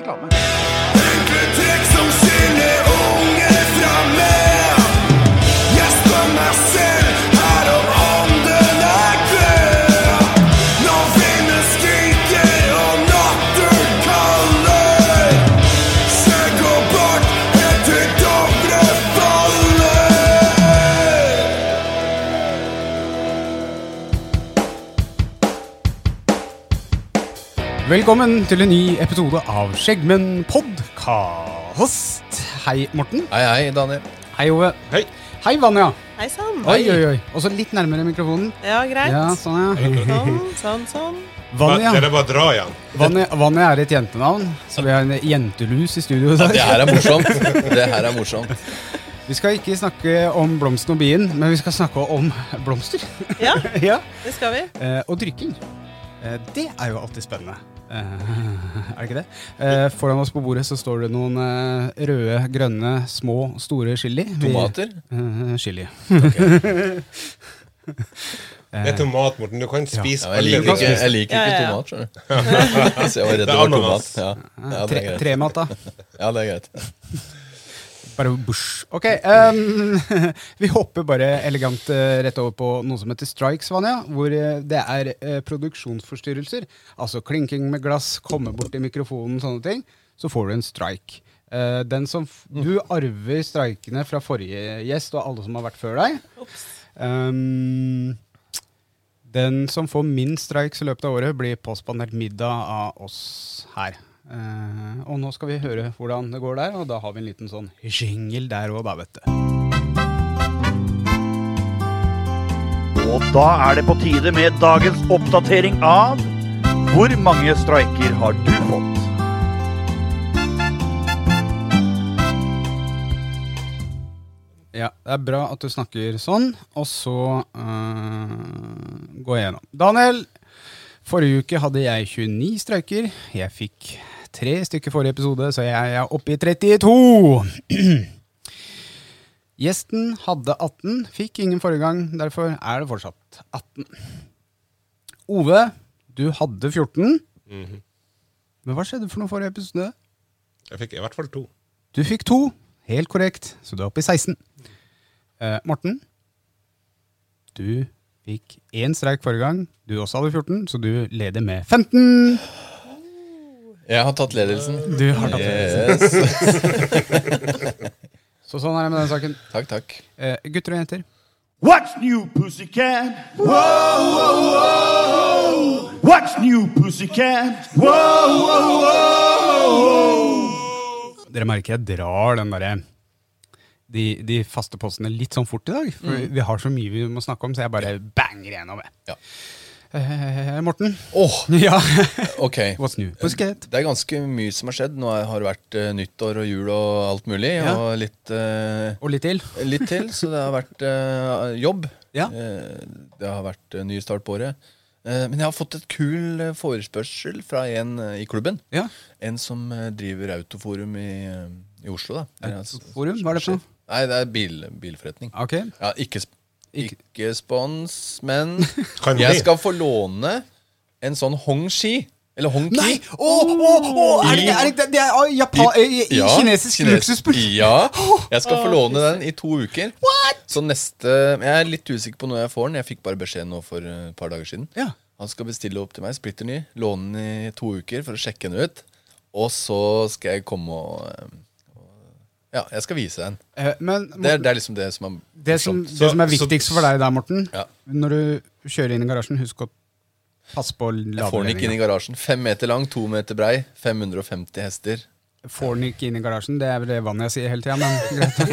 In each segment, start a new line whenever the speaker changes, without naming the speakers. reklame.
Trekk som skiller unge fra menn. Jeg spør meg selv her om ånden er død. Når vinden skriker og natten kaller. Skjegg og bart helt til Dovre faller.
Velkommen til en ny episode av Skjeggmenn podkast. Hei, Morten.
Hei, hei, Daniel.
Hei, Ove.
Hei.
Hei, Vanja.
Hei sann.
Oi, oi, oi. Og så litt nærmere mikrofonen.
Ja, greit.
Ja, sånn, ja.
Sånn, sånn, sånn.
Vanja.
Dere bare drar igjen.
Vanja, Vanja er et jentenavn, så vi har en jentelus i studio i dag.
Det her er morsomt. Det her er morsomt.
Vi skal ikke snakke om blomsten og bien, men vi skal snakke om blomster.
Ja,
ja.
det skal vi.
Eh, og drykking. Eh, det er jo alltid spennende. Eh, er det ikke det? Eh, foran oss på bordet så står det noen eh, røde, grønne, små, store chili. Vi-
Tomater?
Eh, chili.
Det er tomat, Morten. Du kan spise
Ja,
alle
jeg liker
de
ikke, jeg liker
Ja,
ikke
ja, ja.
tomat, skjønner du. Så jeg var redd det var tomat.
ananas.
Ja. ja, det er
Tre,
greit.
tremat, da.
Ja, det er greit.
Bare bush. Ok, ehm, vi hopper bare elegant eh, rett over på noe som heter strikes, Vanja. Hvor eh, det er eh, produksjonsforstyrrelser. Altså klinking med glass, komme bort i mikrofonen, sånne ting. Så får du en strike. Eh, den som f du arver strikene fra forrige gjest og alle som har vært før deg.
Ops.
Ehm, den som får minst strikes i løpet av året, blir påspandert middag av oss her. Eh, og nå skal vi høre hvordan det går der, og da har vi en liten sånn jingle der òg, da, vet du.
Og da er det på tide med dagens oppdatering av Hvor mange streiker har du fått?
Ja, Det er bra at du snakker sånn, og så eh, går jeg gjennom. Daniel, forrige uke hadde jeg 29 streiker. Jeg fikk tre stykker forrige episode, så jeg er oppe i 32. Gjesten hadde 18, fikk ingen forrige gang, derfor er det fortsatt 18. Ove, du hadde 14. Men hva skjedde for noe forrige episode?
Jeg fikk i hvert fall to.
Du fikk to, helt korrekt, så du er oppe i 16. Eh, Morten, du fikk én streik forrige gang. Du også hadde 14, så du leder med 15.
Jeg har tatt ledelsen.
Du har tatt
Yes.
Så sånn er det med den saken.
Takk, takk.
Eh, gutter og jenter,
What's new, pussycat? Whoa, whoa, whoa. What's new, pussycat? Whoa, whoa, whoa.
dere merker jeg drar den derre de, de faste postene litt sånn fort i dag. For vi har så mye vi må snakke om, så jeg bare banger gjennom det.
Ja.
Eh, Morten?
Åh,
Ja.
ok.
What's new? Pusket.
Det er ganske mye som har skjedd. Nå har det vært eh, nyttår og jul og alt mulig.
Ja.
Og litt, eh,
Og litt til.
litt til, så det har vært eh, jobb.
Ja.
Eh, Det har vært eh, ny start på året. Eh, Men jeg har fått et kul eh, forespørsel fra en eh, i klubben.
Ja.
En som eh, driver Autoforum i, eh, i Oslo. da. Er hans-
Autoforum? Hva er det for noe?
Nei, det er bil, bilforretning.
Ok.
Ja, ikke, sp-
Ikke-
ikke spons, men
Kan bli.
jeg skal få låne en sånn Hongxi. Eller Hongqi.
Nei! Å, å, å! Er det, er det, det er å, Japan, i, i,
Ja,
kinesisk
kines-
luksusbrus.
Ja. Jeg skal få låne den i to uker. Så neste Jeg er litt usikker på når jeg får den. Jeg fikk bare beskjed nå for eh, et par dager siden.
Ja.
Han skal bestille opp til meg, splitter ny, låne den i to uker for å sjekke den ut. Og så skal jeg komme og eh, og- Ja, jeg skal vise den.
Eh, Men
Det er,
Morten,
det er liksom det som er
det, som,
morsomt.
det som er
Så- så-
viktigst for deg der, Morten,
Ja.
når du kjører inn i garasjen, husk å passe på
Jeg får den ikke inn
ladeledninga.
i garasjen. Fem meter lang, to meter brei, 550 hester.
Får den ikke inn i garasjen, det er vel det vannet jeg sier hele tida, men greit. takk.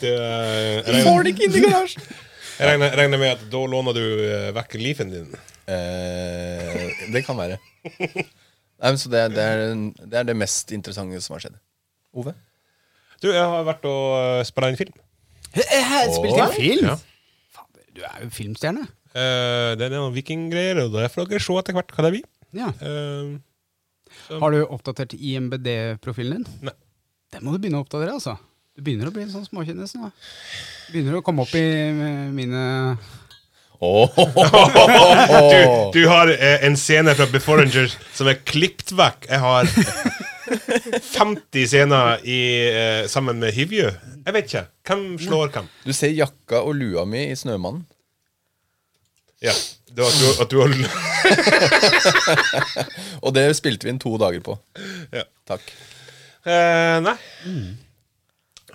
Du, eh,
Jeg
regner,
får den ikke inn i garasjen!
jeg regner, regner med at da låner du eh, vekk leafen din.
Eh, det kan være. Nei, men så det, er- det, er, det er det mest interessante som har skjedd. Ove?
Du, jeg har vært og eh, spillet inn film.
Spilte
Åh.
inn film?
Ja.
Fader, du er jo filmstjerne.
Eh, det er noen vikinggreier, og det får dere se etter hvert hva det blir.
Ja.
Eh,
um.
Har du oppdatert IMBD-profilen din?
Nei.
Den må du begynne å oppdatere, altså. Du begynner å bli en sånn småkjendis nå. Du Begynner å komme opp i eh, mine
du, du har eh, en scene fra Before Rangers som er klippt vekk. Jeg har 50 scener i, eh, sammen med Hivju. Jeg vet ikke. Hvem slår hvem?
Du ser jakka og lua mi i Snømannen.
Ja, det var at du, at du har
Og det spilte vi inn to dager på.
Ja.
Takk.
Eh, Nei.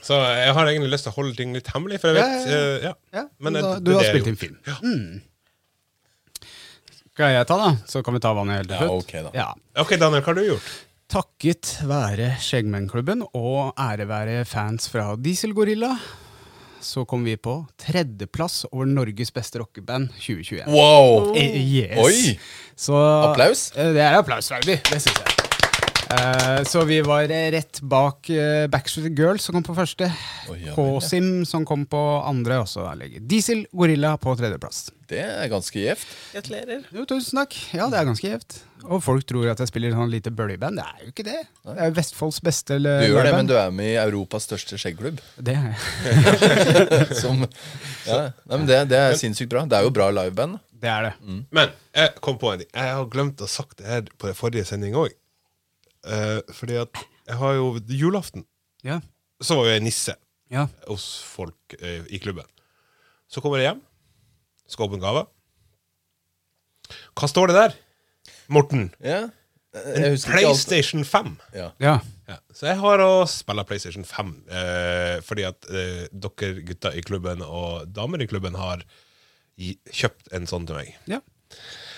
Så jeg har egentlig lyst til å holde ting litt hemmelig, for jeg vet
Mm. Ja, ja,
eh, ja.
Ja,
Men
da,
det-
du
det
har
er
spilt
jo-
inn film. Mm. Skal jeg ta, da? Så kan vi ta vannet helt til
Ja,
slutt.
ok da.
Ja.
Ok, Daniel, hva har du gjort?
Takket være Skjeggmennklubben og ære være fans fra Dieselgorilla, så kom vi på tredjeplass over Norges beste rockeband 2021.
Wow!
Eh, Yes.
Oi!
Så,
Applaus?
Eh, Det er applaus verdig, det syns jeg. Eh, så vi var eh, rett bak eh, Backstreet Girls, som kom på første.
Oi, ja, vel, ja.
K-Sim, som kom på andre. Og så ligger Diesel Gorilla på tredjeplass.
Det er ganske gjevt.
Jo, tusen takk. Ja, det er ganske gjevt. Og folk tror at jeg spiller sånn lite bøljeband. Det er jo ikke det. Det er jo Vestfolds beste
Du gjør det, men
band.
du er med i Europas største skjeggklubb.
Det er jeg.
Som, ja. Nei, men det, det er sinnssykt bra. Det er jo bra liveband.
Det er det.
Mm.
Men jeg kom på en ting. Jeg har glemt å ha sagt det her på den forrige sendinga òg. fordi at jeg har jo julaften.
Ja.
Så var jo jeg nisse
ja.
hos folk eh, i klubben. Så kommer jeg hjem, skal åpne gave. Hva står det der? Morten.
Ja. Jeg
En
husker ikke alt.
PlayStation 5.
Ja.
ja.
Ja. Så jeg har å spille PlayStation 5, eh, fordi at eh, dere gutter i klubben og damer i klubben har gi, kjøpt en sånn til meg.
ja.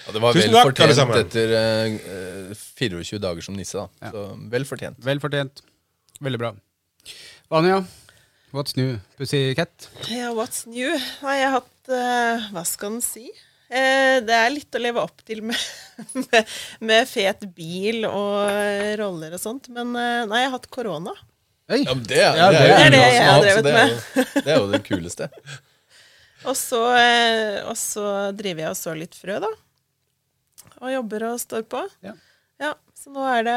Ja, det var
Tusen
vel
takk, alle
fortjent
sammen.
etter eh, eh, 24 dager som nisse, da. Så vel fortjent.
Vel fortjent. Veldig bra. Vanja, what's new, pussycat?
Ja, what's new? Nei, jeg har hatt eh, Hva skal en si? Eh, det er litt å leve opp til med, med, med fet bil og eh, roller og sånt. Men eh, nei, jeg har hatt korona.
Hey.
Ja, men det, er-
Ja,
det
det er
er jo
det
bra
jeg
som
har
alt, så
drevet
det er
med.
jo- det er jo det kuleste.
Og så, eh, og så driver jeg og sår litt frø, da. Og jobber og står på.
Ja.
Ja, så nå er det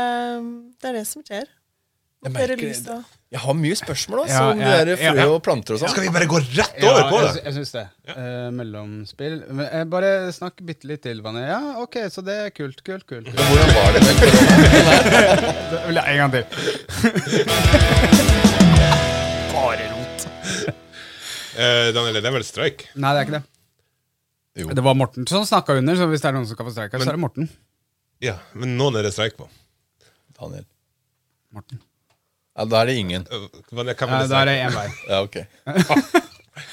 Det er det som skjer.
Jeg
Dere
merker
lys, da.
det. Jeg har mye spørsmål altså,
Ja,
om
ja,
det der
ja,
frø
ja.
og planter og sånn.
Skal vi bare gå rett over på
jeg,
det?
sy- jeg syns det. Eh, mellomspill. Men, eh, bare snakk bitte litt til, Vanja. Ja, ok, så det er kult, kult, kult.
Men Hvordan var det med
En gang til. bare rot.
Eh, Daniel, det er vel streik?
Nei, det er ikke det.
Jo.
Det var Morten som snakka under, så hvis det er noen som kan få streika, så er det Morten.
Ja, men noen er det streik på.
Daniel?
Morten.
Ja, da er det ingen.
Eh, hva- hvem
Eh,
er det
da er
streik?
det én vei.
Ja, ok Ah.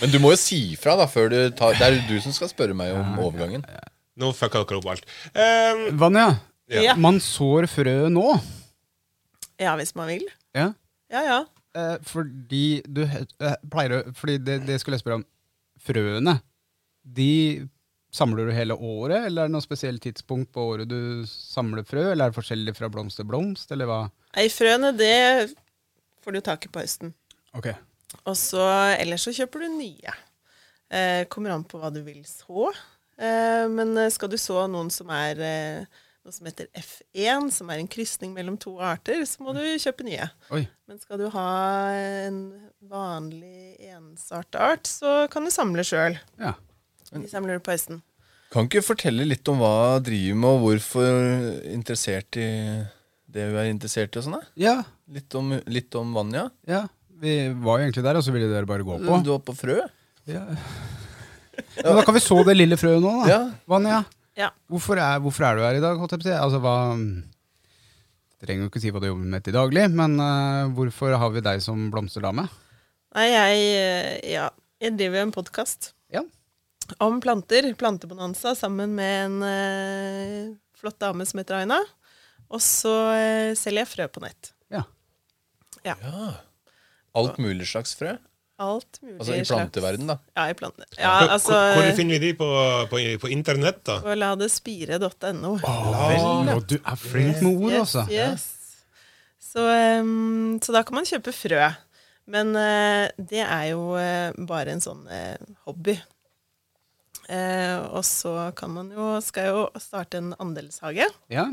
Men du må jo si fra, da. Før du tar, det er jo du som skal spørre meg om overgangen.
Nå fucka dere opp alt. Eh,
Vanja,
Ja.
Ja.
man sår frø nå.
ja, hvis man vil.
Ja.
Ja, ja.
Eh, fordi du he- eh, pleier å Fordi det, det skulle jeg spørre om. Frøene, de samler du hele året, eller er det noe spesielt tidspunkt på året du samler frø? Eller er det forskjellig fra blomst til blomst, eller hva?
Nei, frøene, det får du tak i på høsten.
Ok.
Og så, ellers så kjøper du nye. Eh, kommer an på hva du vil så. Eh, men eh, skal du så noen som er eh, noe som heter F1, som er en krysning mellom to arter, så må du kjøpe nye.
Oi.
Men skal du ha en vanlig ensarta art, så kan du samle sjøl.
Ja.
De samler du på høsten.
Kan ikke du fortelle litt om hva du driver med, og hvorfor interessert i det hun er interessert i? og sånn da?
ja.
Litt om, litt om Vanja.
Ja. Vi var jo egentlig der, og så ville dere bare gå på.
Du var på frø?
Ja. Men da kan vi så det lille frøet nå, da.
Ja.
Vanja,
Ja.
hvorfor er, hvorfor er du her i dag? holdt jeg på å si? Altså, hva... mm, Trenger jo ikke si hva du jobber med til daglig, men eh, hvorfor har vi deg som blomsterdame?
Nei, jeg, eh, ja, jeg driver jo en podkast
Ja.
om planter, Plantebonanza, sammen med en eh, flott dame som heter Aina. Og så eh, selger jeg frø på nett.
Ja.
Alt mulig slags frø?
Alt mulig
Altså i
slags-
planteverden da.
Ja, i plante. Ja,
hvor-
altså
hvor,
eh,
hvor finner vi de på, på, på internett, da?
På ladespire.no.
Og du er flink med ord, altså.
ehm, Yes, yes. Så, em, så da kan man kjøpe frø. Men eh, det er jo eh, bare en sånn eh, hobby. Eh, og så kan man jo, skal jo starte en andelshage
Ja,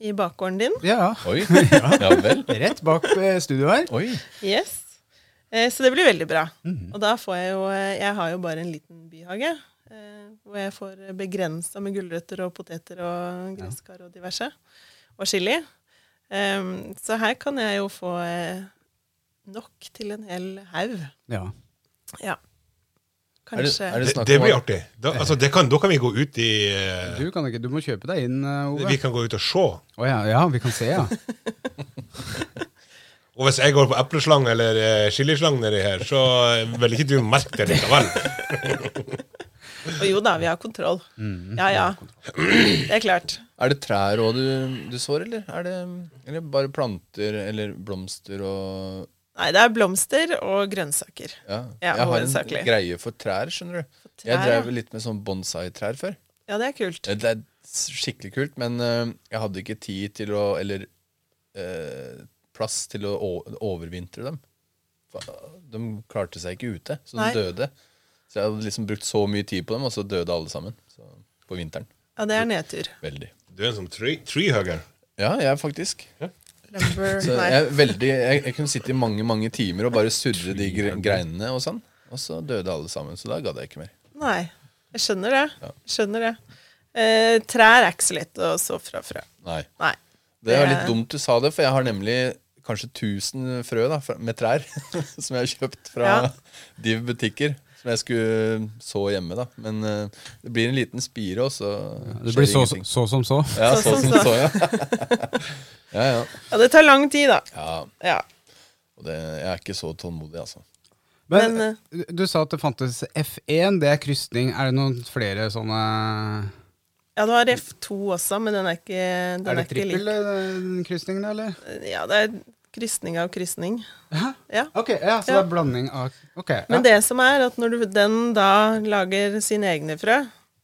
i bakgården din.
ja.
Oi. Ja vel.
Rett bak eh, studio her.
Oi.
Yes. Eh, så det blir veldig bra.
Mhm.
Og da får jeg jo eh, Jeg har jo bare en liten byhage. Eh, hvor jeg får begrensa med gulrøtter og poteter og gresskar og diverse. Og chili. Em, så her kan jeg jo få eh, nok til en hel haug.
Ja.
Ja.
Er det,
Kanskje.
er det
Det,
snakk
det
om
blir
at-
artig. Da, altså, det kan, da kan vi gå ut i eh,
Du kan ikke, du må kjøpe deg inn, eh, Ove.
Vi kan gå ut og se.
Å ja, ja, vi kan se, ja.
Og hvis jeg går på epleslang eller eh, chilislang nedi her, så eh, vil ikke du merke det likevel.
Og jo da, vi har kontroll.
Mhm.
Ja, ja. Det er klart.
Er det trær òg du, du sår, eller? Er det, eller bare planter eller blomster og
Nei, det er blomster og grønnsaker.
Ja,
Ja,
jeg har
hovedsakelig.
en greie for trær, skjønner du.
trær,
jeg drev
ja.
litt med sånn bonsai-trær før.
Ja, det er kult.
Det det er skikkelig kult, men eh, jeg hadde ikke tid til å Eller eh, plass til å o- overvintre dem. Fa- De klarte seg ikke ute, så de
Nei.
døde. Så jeg hadde liksom brukt så mye tid på dem, og så døde alle sammen. Så, på vinteren.
Ja, det er nedtur.
Veldig.
Du er en sånn tree, treehugger.
Ja, jeg er faktisk.
Lumber
Så eh, jeg,
Nei.
er veldig, jeg, jeg kunne sitte i mange mange timer og bare surre de gre greinene og sånn. Og så døde alle sammen, så da gadd jeg ikke mer.
Nei. Jeg skjønner det. Jeg skjønner det. Eh, trær er ikke så lett å så fra frø.
Nei.
Nei. Eh,
Det
Det
er
er-
litt dumt du sa det, for jeg har nemlig kanskje 1000 frø da, fra- med trær som jeg har kjøpt fra
Ja.
div butikker. Som jeg skulle så hjemme, da. Men eh, det blir en liten spire, og så
Det
skjer
blir så,
ingenting.
så som så.
Ja,
Så
så
som
som
så.
så, ja. ja, ja.
Ja, det tar lang tid, da.
ja
Ja.
og det, jeg er ikke så tålmodig, altså.
Men,
Men,
du sa at det fantes F1, det er krysning. Er det noen flere sånne
ja, du har F2 også, men den er ikke, den
Er det
ikke
trippel eh, den krysningen, eller?
lik. Ja, det er krysning av krysning.
Hæ?
Ja.
Ok, ja, så
Ja.
det er blanding av Ok. Ja.
Men det som er at når du, den da lager sine egne frø,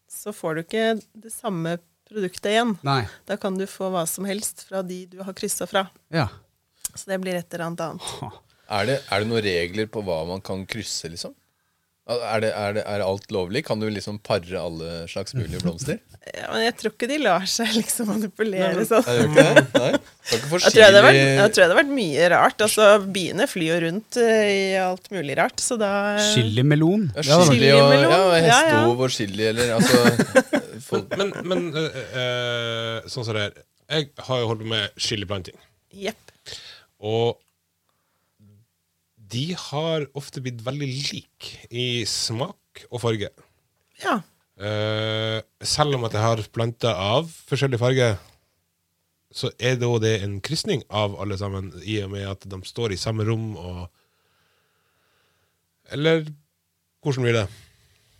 så får du ikke det samme produktet igjen.
Nei.
Da kan du få hva som helst fra de du har kryssa fra.
Ja.
Så det blir et eller annet annet.
Er det, er det noen regler på hva man kan krysse, liksom? Er, det, er, det, er alt lovlig? Kan du liksom pare alle slags mulige blomster?
Ja, men jeg tror ikke de lar seg liksom manipulere sånn.
Er det ikke det? Nei? Kan ikke få
Jeg tror det hadde vært, jeg
chili
tror det hadde vært mye rart. Altså, Biene flyr jo rundt eh, i alt mulig rart, så da
Chilimelon.
ja,
Ja, det var-
chili og
Chilimelon,
ja, og
ja, ja.
hestehov og chili, eller altså folk,
Men, men eh, eh, sånn som det er Jeg har jo holdt på med chiliplanting.
Jepp.
Og de har ofte blitt veldig like i smak og farge.
Ja.
Eh, selv om at jeg har planta av forskjellig farge, så er da det en krysning av alle sammen, i og med at de står i samme rom og Eller hvordan blir det?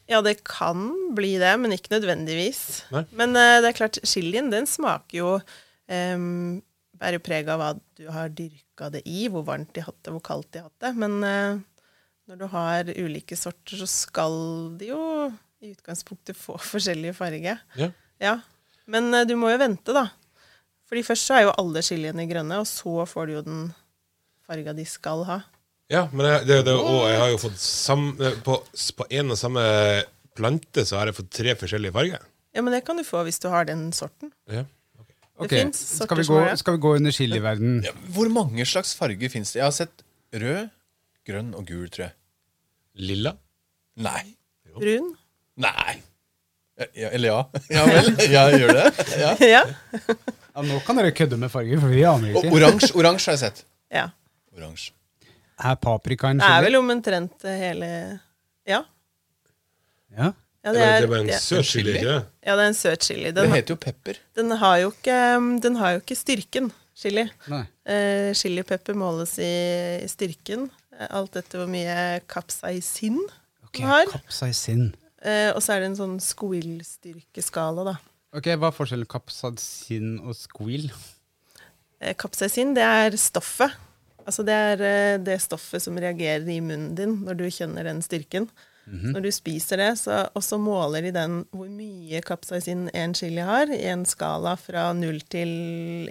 ja, det kan bli det, men ikke nødvendigvis.
Nei.
Men eh, det er klart, chilien den smaker jo um, Bærer jo preg av hva du har dyrka det i, hvor varmt de har hatt det, hvor kaldt de har hatt det. Men eh, når du har ulike sorter, så skal de jo i utgangspunktet få forskjellig farge.
Ja.
Ja, men eh, du må jo vente da. Fordi først så er jo alle chiliene grønne, og så får du jo den farga de skal ha.
Ja, men jeg, det, det, og jeg har jo fått sam, på, på en og samme plante så har jeg fått tre forskjellige farger.
Ja, men det kan du få hvis du har den sorten.
Ja.
Ok,
Det finnes
Skal, vi
sorter som
gå,
er det.
skal vi gå under chiliverdenen?
ja, Hvor mange slags farger fins det? Jeg har sett rød, grønn og gul, tror jeg.
Lilla.
Nei.
Brun.
Nei. Ja, ja, eller ja. Ja vel. Ja, jeg gjør det. Ja.
Ja.
Ja, nå kan dere kødde med farger, for vi aner
Og
ikke.
oransje oransje har jeg sett.
ja.
Oransje.
Er paprika en
Det er
chili?
vel omtrent eh, hele Ja.
Ja.
ja
Det
det,
er,
er,
det er bare en
ja,
søt chili, ikke det?
ja, det er en søt chili.
Det
Den,
heter jo pepper.
den, har, jo ikke, um, den har jo ikke styrken, chili.
Nei.
Eh, chilipepper måles i, i styrken. eh, Alt etter hvor mye kapsaisin
Ok,
den har.
kapsaisin.
Eh, og så er det en sånn squeal-styrkeskala, da.
Ok, Hva er forskjellen kapsaisin og squeal?
Eh, Kapsaisin, det er stoffet. Altså det er eh, det stoffet som reagerer i munnen din når du kjenner den styrken. Så Når du spiser det, så, og så måler de den hvor mye kapsaisin en chili har, i en skala fra null til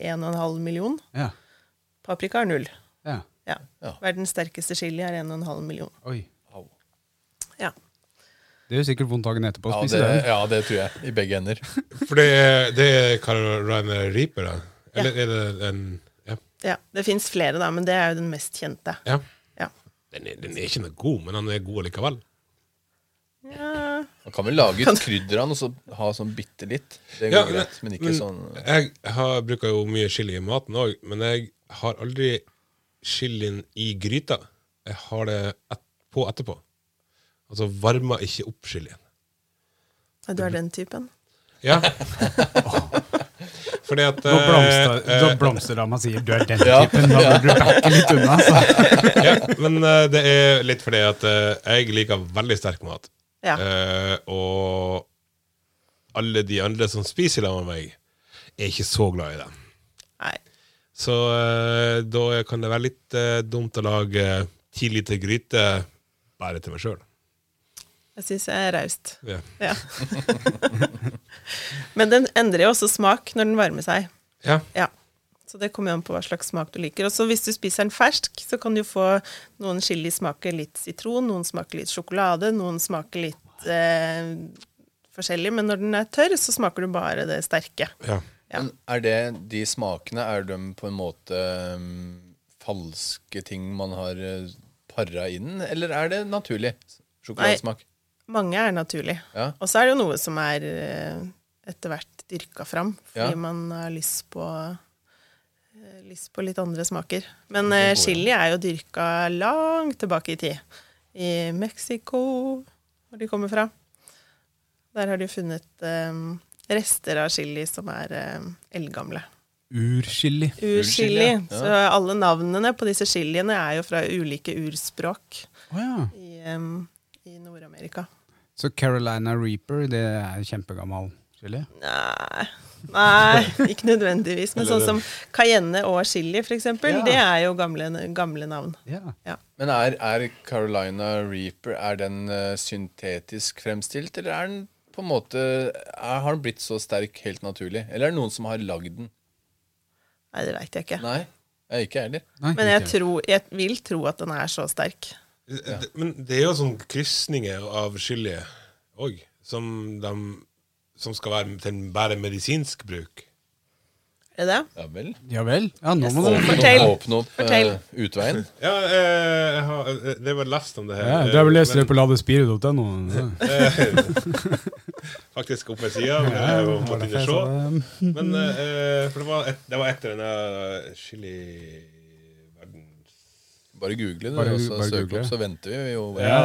1,5 million.
Ja.
Paprika er null.
ja.
Ja.
Ja.
Verdens sterkeste chili er 1,5 million.
Oi.
Au.
Ja.
Det gjør sikkert vondt dagen etterpå å
Ja
spise
det,
den.
ja, det tror jeg. I begge ender.
For det er, det er Carolina Reaper, da? Eller er det en Ja.
ja. Det fins flere, da, men det er jo den mest kjente.
ja.
Ja.
Den, er, den er ikke noe god, men han er god likevel.
Ja.
Man kan vel lage ut krydder av den og så ha sånn bitte litt. Det går greit, men ikke sånn
Jeg har, bruker jo mye chili i maten òg, men jeg har aldri chilien i gryta. Jeg har det et, på etterpå. Altså varmer ikke opp chilien.
Du er den typen?
Ja. Fordi at
Da blomster,
eh,
da blomsterrama sier du er den typen, da burde du backe litt unna. altså. Så.
ja, Men eh, det er litt fordi at eh, jeg liker veldig sterk mat.
Ja.
Eh, og alle de andre som spiser sammen med meg, er ikke så glad i det.
Nei.
Så eh, da kan det være litt eh, dumt å lage ti liter gryte bare til meg sjøl.
Jeg syns jeg er raust.
Ja.
Ja. men den endrer jo også smak når den varmer seg.
Ja.
Ja. Så det kommer jo an på hva slags smak du liker. Og så hvis du spiser den fersk, så kan du få noen chili smaker litt sitron, noen smaker litt sjokolade, noen smaker litt eh, forskjellig. Men når den er tørr, så smaker du bare det sterke.
ja.
Ja.
Men er det de smakene Er de på en måte mm, falske ting man har eh, para inn, eller er det naturlig sjokoladesmak?
Mange er naturlig.
Ja.
Og så er det jo noe som er eh, etter hvert dyrka fram, fordi
Ja.
man har lyst på eh, Lyst på litt andre smaker. Men eh, chili er jo dyrka langt tilbake i tid. I Mexico, hvor de kommer fra. Der har de funnet eh, rester av chili som er eh, eldgamle.
Urchili.
Urchili.
ja.
Så alle navnene på disse chiliene er jo fra ulike urspråk
Å ja.
i, eh, i Nord-Amerika.
Så Carolina Reaper, det er kjempegammal chili?
Nei, nei, ikke nødvendigvis. Men sånn som cayenne og chili, for eksempel,
Ja.
det er jo gamle, gamle navn.
Ja.
Ja.
Men er, er Carolina Reaper Er den eh, syntetisk fremstilt, eller er den på en måte er, Har den blitt så sterk helt naturlig? Eller er det noen som har lagd den?
Nei, det veit jeg ikke.
Nei, jeg ikke heller.
Nei,
Men jeg,
ikke.
tror, jeg vil tro at den er så sterk.
D- Men det er jo sånn krysninger av chili òg, som, de- som skal være til bare medisinsk bruk.
Er det det?
Ja vel.
Ja vel? Ja, nå må du
Åpne,
Fortell.
åpne opp eh,
Fortell.
utveien.
Ja, eh, jeg har, eh, det var lest om det her.
ja, Du har vel lest det
Men-
på ladespire.no? Ja.
Faktisk opp ved sida. Men jeg måtte ikke se.
um,
Men eh, for det var, et, det var etter denne chili-verden
Bare google det,
Bare
og
gu-
så
bare
søk
google.
opp, så venter vi jo.
Ja.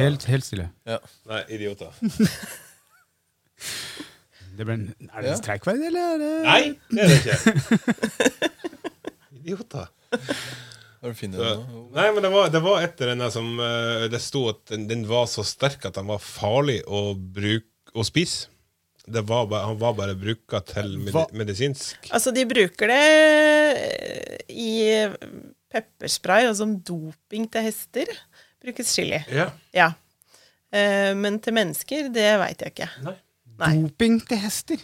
Helt, helt stille.
Ja.
Nei, idioter.
Det ble, en- er det
Ja.
en streikverd, eller? Er det?
Nei, det er det ikke. Idioter.
Har du funnet
Så,
noe?
nei, men det var, det var etter denne som eh, Det sto at den, den var så sterk at den var farlig å bruke å spise. Det var bare, han var bare bruka til medi
Hva?
medisinsk.
Altså, de bruker det eh, i pepperspray og som doping til hester. Brukes chili.
Ja.
Ja. Eh, Men til mennesker, det veit jeg ikke.
Nei.
Nei.
Doping til hester?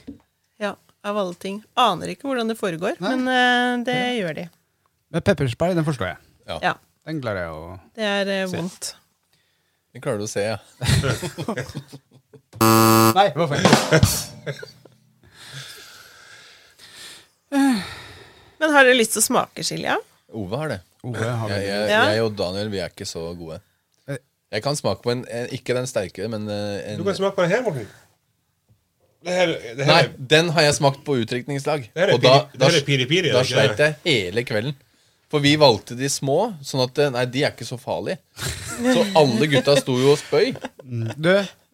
Ja, av alle ting. Aner ikke hvordan det foregår,
Nei.
men eh, det gjør de.
Men pepperspray, den forstår jeg.
Ja.
Den klarer jeg å
Det er eh, vondt.
Det klarer du å se, ja.
Nei, hva faen?
Men har dere lyst til å smake chili? Ja?
Ove har det.
Ove har vel
Jeg, jeg,
Ja.
jeg og Daniel vi er ikke så gode.
Eh.
Jeg kan smake på en, en ikke den sterke, men eh,
Du kan
en
smake på det her, Morten. Det her, det her
Nei,
er-
den har jeg smakt på utdrikningslag.
Det her er
Og da,
piri- det
da,
her er piri-piri, er
da
det ikke
sleit jeg hele kvelden. For vi valgte de små, sånn at eh, Nei, de er ikke så farlige. Så alle gutta sto jo og spøy.
Mm, Du,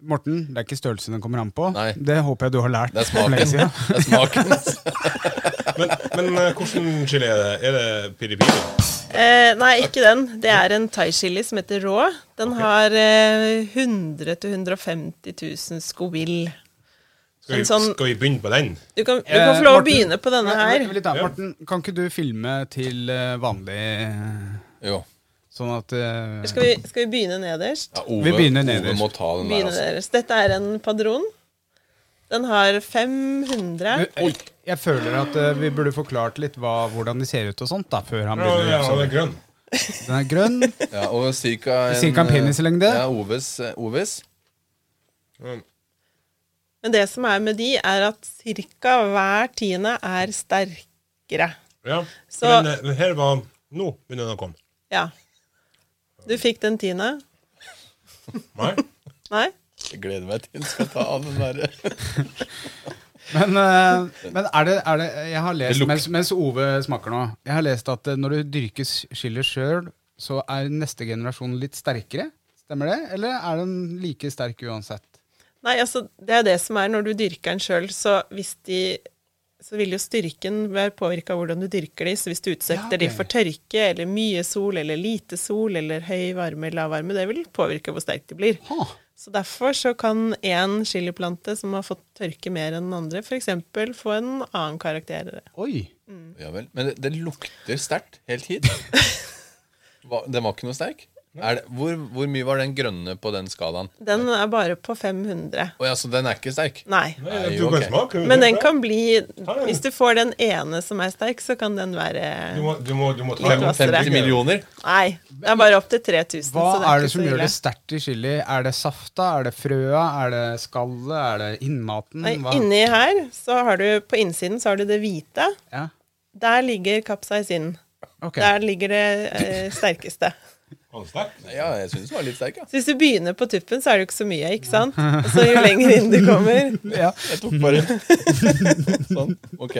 Morten, det er ikke størrelsen den kommer an på.
Nei.
Det håper jeg du har lært.
Det er
for lenge
smaken.
siden.
Det er smaken.
Men, men eh, hvordan chili er det? Er det piri-piri?
Eh, nei, ikke den. Det er en thaichili som heter rå. Den har eh, 100 000-150 000 skovill.
Skal vi,
En sånn-
skal vi begynne på den?
Du kan, du
Eh,
kan få lov å begynne på denne
Vent
her.
litt da,
Ja.
Morten, kan ikke du filme til eh, vanlig eh,
Jo.
Sånn at eh,
Skal vi, skal vi begynne nederst?
Ja, Ove,
Vi begynner
Ove
nederst.
må ta den der,
Begynne
altså.
nederst. Dette er en padron. Den har 500
Men, eh, Jeg føler at eh, vi burde forklart litt hva, hvordan de ser ut og sånt, da, før han
Ja,
begynner.
ja,
å gjøre
han er Sånn grønn.
Den er grønn.
Ja, og cirka
Cirka en
eh,
penislengde.
Ja, Oves, eh, Oves.
Men det som er med de, er at ca. hver tiende er sterkere.
Ja.
Så-
Men eh, men her var Nå begynner den å komme.
Ja. Du fikk den tiende?
Nei?
Nei?
Jeg gleder meg til hun skal ta av den derre
Men, eh, men er, det, er det Jeg har
Det
lest,
lukter.
mens, mens Ove smaker nå Jeg har lest at eh, når du dyrker chili sjøl, så er neste generasjon litt sterkere. Stemmer det? Eller er den like sterk uansett?
Nei, altså, det er det som er når du dyrker den sjøl, så hvis de så vil jo styrken være påvirka av hvordan du dyrker de, så hvis du utsetter
Ja, ok.
de for tørke eller mye sol eller lite sol eller høy varme eller lav varme, det vil påvirke hvor sterk de blir.
Ha.
Så derfor så kan én chiliplante som har fått tørke mer enn den andre, f.eks. få en annen karakter.
Oi!
Ja vel. Men det, det lukter sterkt helt hit. Hva, den var ikke noe sterk? Er det, hvor, hvor mye var den grønne på den skalaen?
Den er bare på 500.
Å ja, så den er ikke sterk?
Nei.
Nei,
Nei,
du kan
ok.
smake.
Men den kan bli
den.
Hvis du får den ene som er sterk, så kan den være
Du må, du må, du må ta
Litt
imot
vassere.
50 millioner?
Nei, det er bare opp til 3000.
Hva
så
er det
ikke
som
så
gjør
ille.
det sterkt i chili? Er det safta? Er det frøa? Er det skallet? Er det innmaten?
Nei,
Hva-
inni her, så har du på innsiden så har du det hvite.
Ja.
Der ligger kapsaisinen.
Ok.
Der ligger det eh, sterkeste.
Var den sterk?
Ja, jeg syns den var litt sterk. Ja.
Så hvis du begynner på tuppen, så er det jo ikke så mye, ikke sant? Og så jo lenger inn du kommer,
Ja.
Jeg tok bare Sånn. Ok.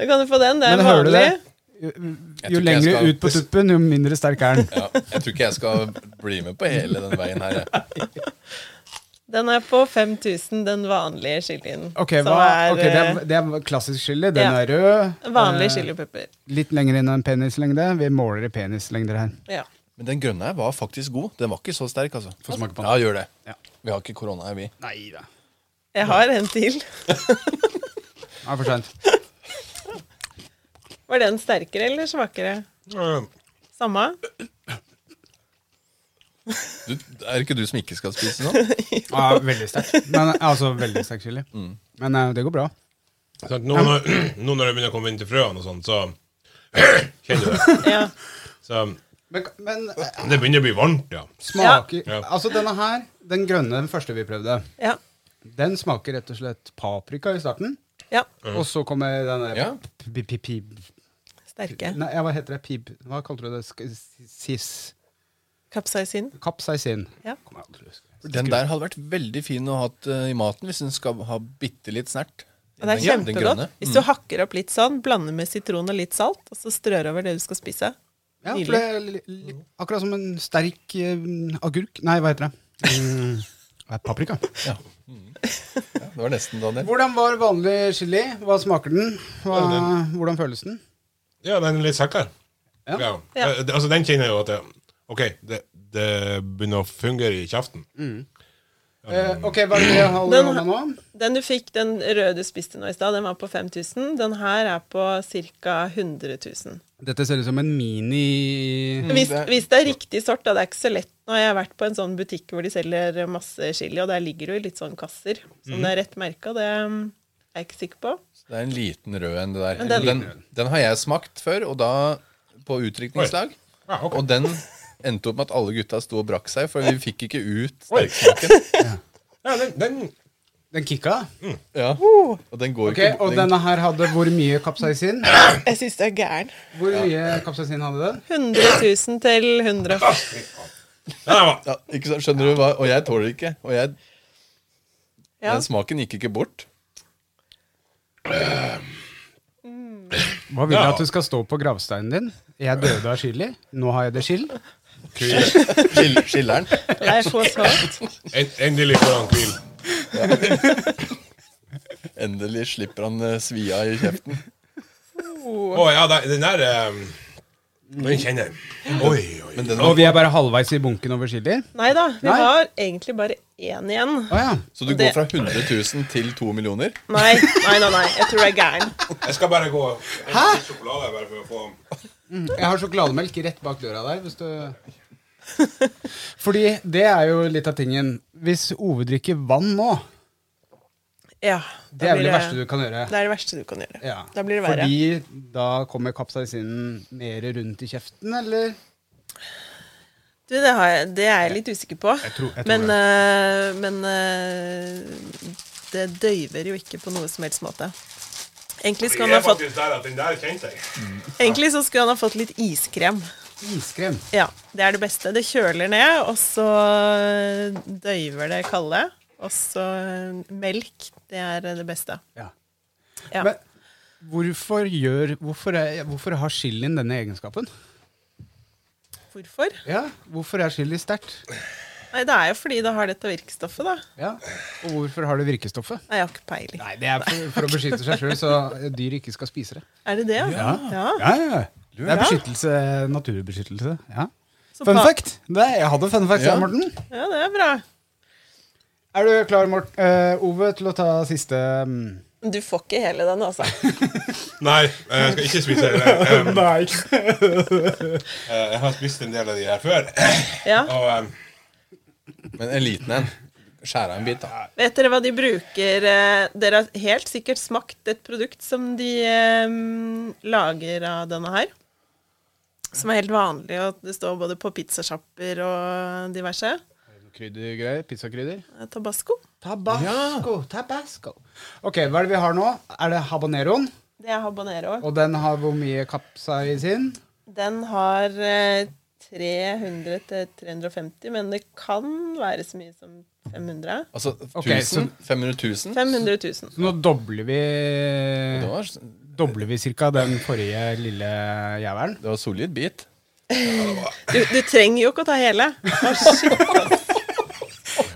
så kan du få den. Det er
Men hører du
vanlig.
det? Jo, jo
Jeg tror ikke jeg
lenger
skal-
ut på tuppen, jo mindre sterk er den.
Ja, jeg tror ikke jeg skal bli med på hele den veien her. jeg.
Den er på 5000, den vanlige chilien.
Ok,
som
hva,
er,
ok, det, er,
eh,
det er klassisk chili. Den
Ja.
er rød.
vanlig
eh,
chilipepper.
Litt lenger inn enn penislengde. Vi måler i penislengder her.
Ja.
Men den grønne her var faktisk god. Den var ikke så sterk, altså.
Få smake på den.
Ja, gjør det.
Ja.
Vi har ikke korona her, vi.
Nei da.
Jeg har en til.
Ja, for sent.
Var den sterkere eller svakere?
Eh,
Samme?
Du, er det ikke du som ikke skal spise nå?
Ja, veldig sterk. Men, altså, veldig sterk chili. Men eh, det går bra.
sant, Nå når, nå når det begynner å komme inn til frøene og sånn, så kjenner du det.
Ja.
Så um,
Men, men eh,
det begynner å bli varmt, ja.
smaker
Ja.
Altså, denne her, den grønne, den første vi prøvde,
Ja.
den smaker rett og slett paprika i starten.
ja.
Og så kommer den der
Ja.
pi- pi- pi-
Sterke.
Nei, ja, hva heter det? Pib? Hva kalte du det? Sk- Sis?
Kapsaisin.
Kapsaisin.
Ja.
Kommer jeg aldri til å huske.
Den der hadde vært veldig fin å ha eh, i maten hvis den skal ha bitte litt snert.
Og det
Den- den
er
grønne. Mm.
kjempegodt. Hvis du hakker opp litt sånn, blander med sitron og litt salt, og så strør over det du skal spise.
Ja,
Nydelig.
for det er li- li- akkurat som en sterk eh, agurk Nei, hva heter det? Mm, det er paprika.
Ja, det var nesten, Daniel.
Hvordan var vanlig chili? Hva smaker den? Hva, hvordan føles den?
Ja, den er litt sterkere.
Ja.
Ja.
Ja.
Eh, det- Altså, den kjenner jeg jo at det, OK, det, det begynner å fungere i kjeften.
Mm.
Eh, ok, hva er det jeg holder i
Den-
hånda nå?
Den du fikk, den røde du spiste nå i stad, den var på 5000. Den her er på ca. 100 000.
Dette ser ut som en mini
Hvis,
det er-
hvis det er riktig sort, da. Det er ikke så lett. Nå har jeg vært på en sånn butikk hvor de selger masse chili, og der ligger det jo litt sånn kasser som det er rett merka. Det mm, er jeg ikke sikker på.
Det er en liten rød en, det der.
Men
den,
den-
den, har jeg smakt før, og da på utdrikningslag.
Ja, ok.
Og den endte opp med at alle gutta sto og brakk seg, for vi fikk ikke ut sterksmaken.
Ja, den, den
Den kicka.
Ja. Og den går
Ok,
ikke
Og denne her hadde hvor mye kapsaisin?
Jeg syns det er gæren.
Hvor mye kapsaisin hadde den?
100 000 til 100
ja, den var,
ja, ikke sant, Skjønner du hva? Og jeg tåler ikke. Og jeg,
Ja.
den smaken gikk ikke bort.
Hva vil du
Ja.
at du skal stå på gravsteinen din? Jeg døde av chili. Nå har jeg det chill.
kvil.
Skill- Skilleren.
Det er så svakt.
En, endelig får han hvil.
Endelig slipper han eh, svia i kjeften.
Å ja, den den der eh, Den kjenner jeg.
Mm.
Oi, oi.
Men den
Og vi er bare halvveis i bunken over chili.
Nei da, vi
Nei.
har egentlig bare én igjen.
Å ja.
Så du går
Det-
fra 100 000 til 2 millioner?
Nei, nei, nei, nei. jeg tror det er gæren.
Jeg skal bare gå og hente litt sjokolade bare for å få
Jeg har sjokolademelk rett bak døra der. Hvis du Fordi det er jo litt av tingen. Hvis Ove drikker vann nå,
Ja, da
det er vel
blir
det verste du kan gjøre.
Det er det verste du kan gjøre.
Ja.
Da blir det verre.
Fordi da kommer kapsaisinen mer rundt i kjeften, eller?
Du, det, har jeg, det er jeg litt usikker på.
Jeg tror- jeg tror
men eh, men eh, det døyver jo ikke på noe som helst måte. Egentlig,
Vi
skulle han ha
er
fått,
faktisk der at den der kjente jeg.
egentlig så skulle han ha fått litt iskrem.
Iskrem.
Ja, det er det beste. Det kjøler ned, og så eh, døyver det kalde. Og så eh, melk. Det er det beste.
Ja.
Ja.
Men hvorfor, gjør, hvorfor, er, hvorfor har chilien denne egenskapen?
Hvorfor?
Ja, Hvorfor er chili sterkt?
Nei, det er jo fordi det har dette virkestoffet, da.
Ja. Og hvorfor har det virkestoffet?
Nei, jeg har ikke peiling.
Nei, det er for, for å beskytte seg sjøl, så dyr ikke skal spise det.
Er det det? ja.
Ja, ja. Det er
Ja.
beskyttelse, naturbeskyttelse. Ja.
Så
Fun
pa-
fact! Det, jeg hadde fun fact,
Ja.
ja. Morten.
Ja, det er bra.
Er du klar, Mort, eh, Ove, til å ta siste mm,
Du får ikke hele den, altså.
Nei, eh, jeg skal ikke spise det. Um,
Nei.
eh, Jeg har spist en del av de her før.
Ja.
Og um,
Men en liten en. Skjære av en bit, da.
Vet dere hva de bruker eh, Dere har helt sikkert smakt et produkt som de eh, lager av denne her. Som er helt vanlig, og det står både på pizzasjapper og diverse.
Kryddergreier. Pizzakrydder.
Eh, Tabasco.
Tabasco, tabasco. Ok, hva er det vi har nå? Er det habaneroen?
Det er habanero.
Og den har hvor mye kapsaisin?
Den har eh, 300 til 350, men det kan være så mye som 500.
Altså
Ok,
1000? 500 000?
500
Så
000.
nå dobler vi
Det var,
Dobler vi ca. den forrige lille jævelen?
det var solid bit.
Du, du trenger jo ikke å ta hele.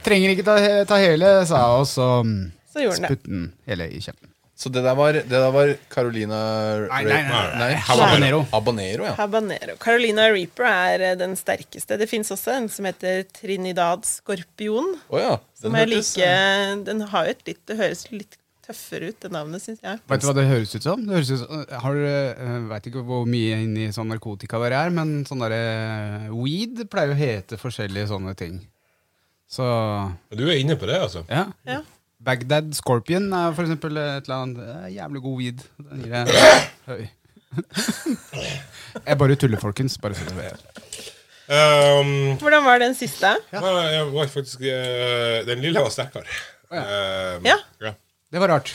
Trenger ikke ta, ta hele, sa jeg, og så mm,
Så gjorde den det.
putte den hele i kjeften.
Så det der var, det der var Carolina
Nei, nei, nei, nei, nei.
Habanero.
Habanero.
Habanero, ja.
Habanero. Carolina Reaper er eh, den sterkeste. Det fins også en som heter Trinidad Skorpion.
Å ja.
Som er like
eh,
Den har jo et litt Det høres litt tøffere ut, det navnet, syns jeg.
Vet du hva det høres ut som? Det høres ut som har, du, eh, vet ikke hvor mye inni sånn narkotika dere er, men sånn der, eh, weed pleier å hete forskjellige sånne ting. Så
du er inne på det, altså.
ja.
Ja.
Bagdad Scorpion er for eksempel et eller annet eh, jævlig god weed. Den gir jeg høy. Jeg bare tuller, folkens. Bare så dere vet.
Um,
Hvordan var den siste?
nei, nei, jeg var faktisk, eh, den lille var sterkere. Um,
Ja.
ja.
Det var rart.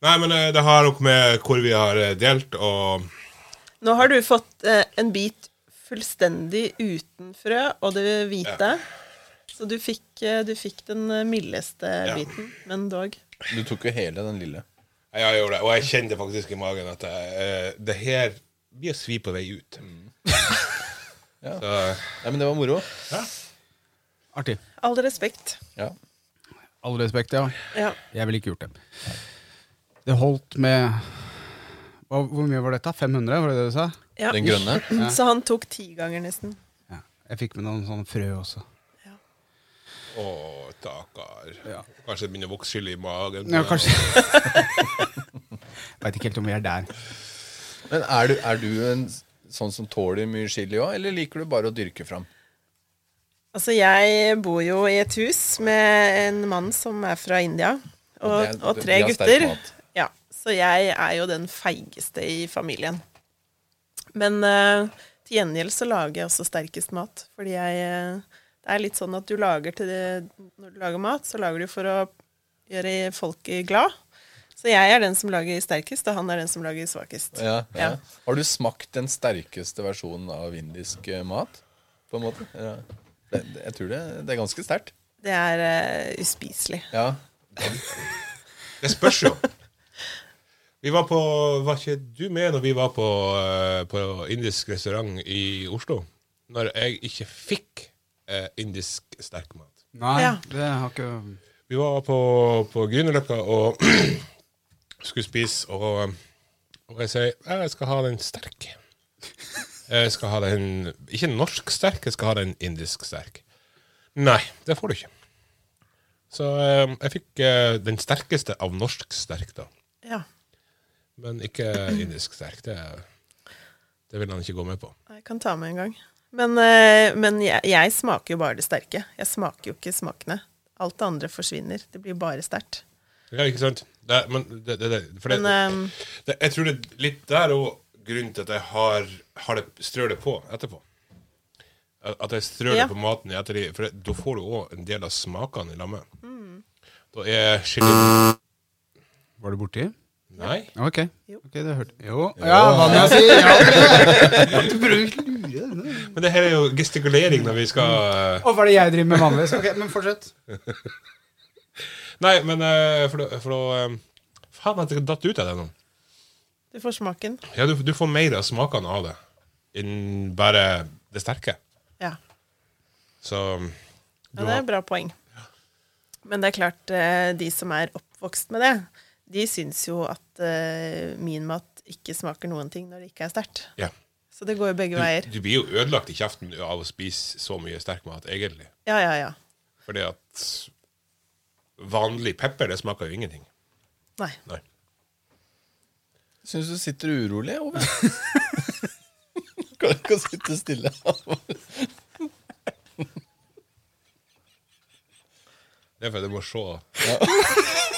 Nei, men eh, det har noe med hvor vi har eh, delt, og
Nå har du fått eh, en bit fullstendig uten frø og det hvite. Så du fikk, eh, du fikk den eh, mildeste biten, men dog.
Du tok jo hele den lille.
jeg gjorde det. Og jeg kjente faktisk i magen at eh, det her blir å svi på vei ut.
Mm.
Ja.
Så
Nei, men det var moro.
Artig.
All respekt.
Ja.
All respekt, ja.
Ja.
Jeg ville ikke gjort det. Det holdt med Hva- Hvor mye var dette? 500, var det det du sa?
ja.
Den grønne.
Så han tok ti ganger, nesten.
Ja. Jeg fikk med noen sånne frø også.
Å, takkar. Kanskje det begynner å vokse skyld i magen.
Ja, kanskje. Veit ikke helt om vi er der.
Men er du, er du en s- sånn som tåler mye chili òg, eller liker du bare å dyrke fram?
Altså, jeg bor jo i et hus med en mann som er fra India, og,
Det er-
og
det-
tre
de har sterk
gutter.
mat.
Ja, så jeg er jo den feigeste i familien. Men eh, til gjengjeld så lager jeg også sterkest mat, fordi jeg eh, Det er litt sånn at du lager til det Når du lager mat, så lager du for å gjøre folk glad. Så jeg er den som lager sterkest, og han er den som lager svakest.
Ja, ja.
Ja.
Har du smakt den sterkeste versjonen av indisk eh, mat? På en måte? Ja. Det, det, jeg tror det, det er ganske sterkt.
Det er eh, uspiselig.
Ja.
Det spørs jo. Vi var på Var ikke du med når vi var på, eh, på indisk restaurant i Oslo? Når jeg ikke fikk eh, indisk sterkmat.
Nei,
Ja.
det har ikke
Vi var på, på Grünerløkka og skulle spise, og, og jeg sier «Ja, jeg skal ha den sterk. Jeg skal ha den Ikke norsk sterk, jeg skal ha den indisk sterk. Nei, det får du ikke. Så eh, jeg fikk eh, den sterkeste av norsk sterk, da.
Ja.
Men ikke indisk sterk. Det, det vil han ikke gå med på.
Jeg kan ta med en gang. Men, eh, men jeg, jeg smaker jo bare det sterke. Jeg smaker jo ikke smakene. Alt det andre forsvinner. Det blir bare sterkt.
Ja, ikke sant? Det, men det, det, det, for det,
Men, ehm,
det, jeg tror det er litt der òg grunnen til at jeg har, har det, strør det på etterpå. At jeg strør
Ja.
det på maten i ettertid. For det, da får du òg en del av smakene i lammet.
Mm.
Da er chili
Var du borti?
Nei.
Ok.
Jo.
Ok, det hørte Jo. Ja, hva må jeg si? Ja, ok. Du prøver å lure denne.
Men det her er jo gestikulering når vi skal eh,
Å, hva er det jeg driver med vanligvis? Ok, men fortsett.
Nei, men eh, for da- for da eh, Faen, at det datt ut av deg nå.
Du får smaken.
Ja, du, du får mer av smakene av det enn bare det sterke.
Ja.
Så
ja, det er et bra poeng. Men det er klart, eh, de som er oppvokst med det, de syns jo at eh, min mat ikke smaker noen ting når det ikke er sterkt.
ja.
Så det går jo begge veier.
Du, du blir jo ødelagt i kjeften av å spise så mye sterk mat, egentlig.
Ja, ja, ja.
Fordi at vanlig pepper, det smaker jo ingenting.
Nei.
Nei.
Syns du sitter urolig, Ove? Klarer ikke å sitte stille.
Det er fordi du må se.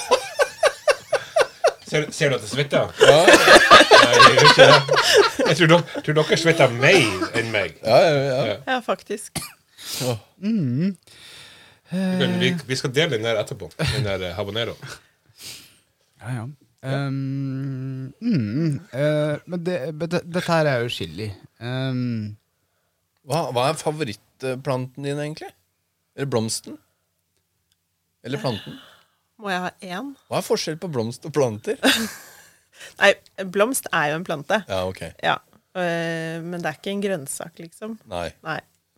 Ser, ser du at jeg svetter?
Ja,
Nei, jeg gjør ikke det. Jeg tror, dere- tror dere svetter mer enn meg.
ja, ja, ja.
Ja, faktisk.
Men vi, vi skal dele den der etterpå. Den der eh, habaneroen.
Ja, ja. Ehm, mm, eh, men det, men det, dette her er jo chili. Ehm,
Hva, hva er favorittplanten din, egentlig? Eller blomsten? Eller planten?
Må jeg ha én?
Hva er forskjell på blomst og planter?
Nei, blomst er jo en plante.
Ja, ok.
Ja. Eh, Men det er ikke en grønnsak, liksom.
Nei.
Nei.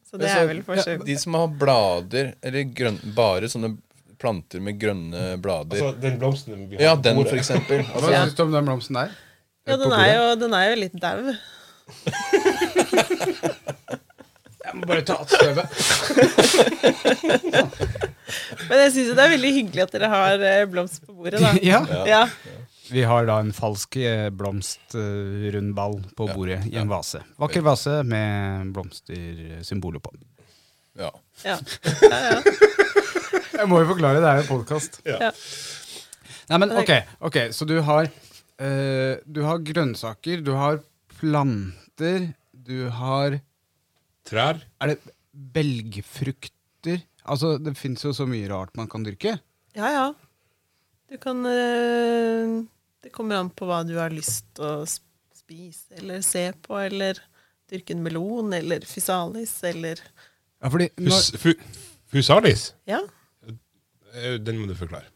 Så det er vel forskjell.
De som har blader, eller grønn, bare sånne planter med grønne blader.
Altså, den blomsten vi har
ja,
på
den,
bordet.
for eksempel.
hva
Altså,
syns du om den blomsten der?
Ja, den er jo, den er jo litt dau.
Jeg må bare ta av støvet.
Men jeg syns jo det er veldig hyggelig at dere har eh, blomst på bordet, da.
Ja.
Ja.
Vi har da en falsk eh, blomstrund ball på bordet i en vase. Vakker vase med blomstersymboler på.
ja.
Ja.
Jeg må jo forklare, det er jo en podkast.
Ja.
Nei, men ok, ok, så du har, eh, du har grønnsaker, du har planter, du har
Trær.
Er det belgfrukter? Altså, det fins jo så mye rart man kan dyrke.
ja, ja. Du kan eh, Det kommer an på hva du har lyst å sp- spise eller se på, eller dyrke en melon eller fysalis eller
Ja, fordi
Hus, fu, fusalis?
Ja.
Eh, Den må du forklare.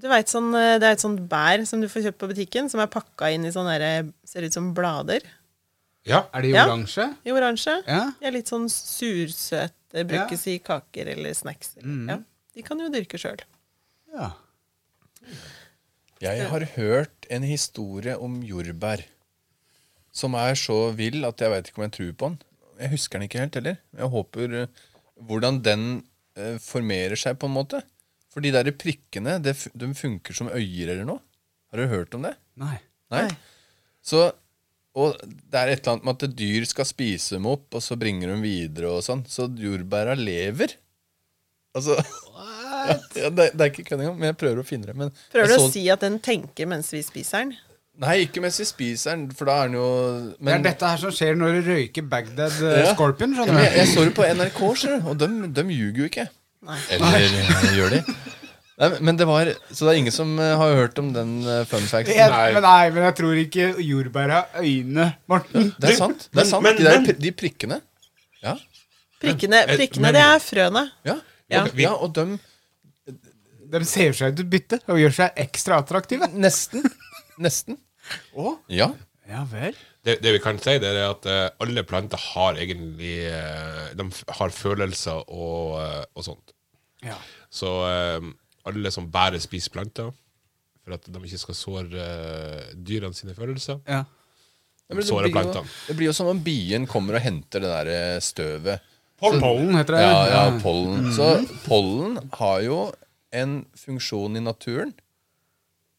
Du vet, sånn, eh, det er et sånt bær som du får kjøpt på butikken, som er pakka inn i sånne der, eh, ser ut som blader
Ja.
Er de
Ja.
oransje?
i oransje.
Ja.
De er litt sånn sursøte, brukes i kaker eller snacks. Eller, ja. De kan du jo dyrke sjøl.
ja.
Jeg har hørt en historie om jordbær som er så vill at jeg veit ikke om jeg tror på den. Jeg husker den ikke helt heller. Jeg håper eh, hvordan den eh, formerer seg, på en måte. For de der prikkene, det, fu- de funker som øyer eller noe. Har du hørt om det?
Nei.
Nei.
Nei.
Så, og det er et eller annet med at dyr skal spise dem opp, og så bringer de videre og sånn. Så jordbæra lever. Altså ja, det, det er ikke kødd engang, men jeg prøver å finne det. Men
Prøver
jeg
du
så-
å si at den tenker mens vi spiser den?
Nei, ikke mens vi spiser den, for da er den jo
Det
men,
er dette her som skjer når du røyker Bagdad eh,
Ja.
Scorpion,
Ja, men
skjønner
jeg,
du.
jeg så det på NRK, skjønner du, og dem, dem ljuger jo ikke.
Nei.
Eller eh, gjør de? Nei, men- men det var, Så det er ingen som eh, har hørt om den eh, fun facten?
Jeg, men nei, men jeg tror ikke jordbær har øyne, Morten.
Det er sant. det
Men-
er sant,
men-
De, der,
men-
pri- de prikkene. Ja,
Prikkene,
Eh,
prikkene
men-
det er frøene.
ja,
Ja.
ja. ja og dem
De ser seg ut til bytte og gjør seg ekstra attraktive.
Nesten. Nesten.
Å?
Ja.
Ja vel.
Det, det vi kan si, det er at eh, alle planter har egentlig eh, De f- har følelser og, eh, og sånt.
Ja.
Så eh, alle som bare spiser planter for at de ikke skal såre eh, dyrene sine følelser.
ja.
Men det,
Såre
blir jo,
plantene.
det blir jo som om bien kommer og henter det der eh, støvet.
Pollen heter det.
Ja, ja, pollen. Så pollen har jo en funksjon i naturen.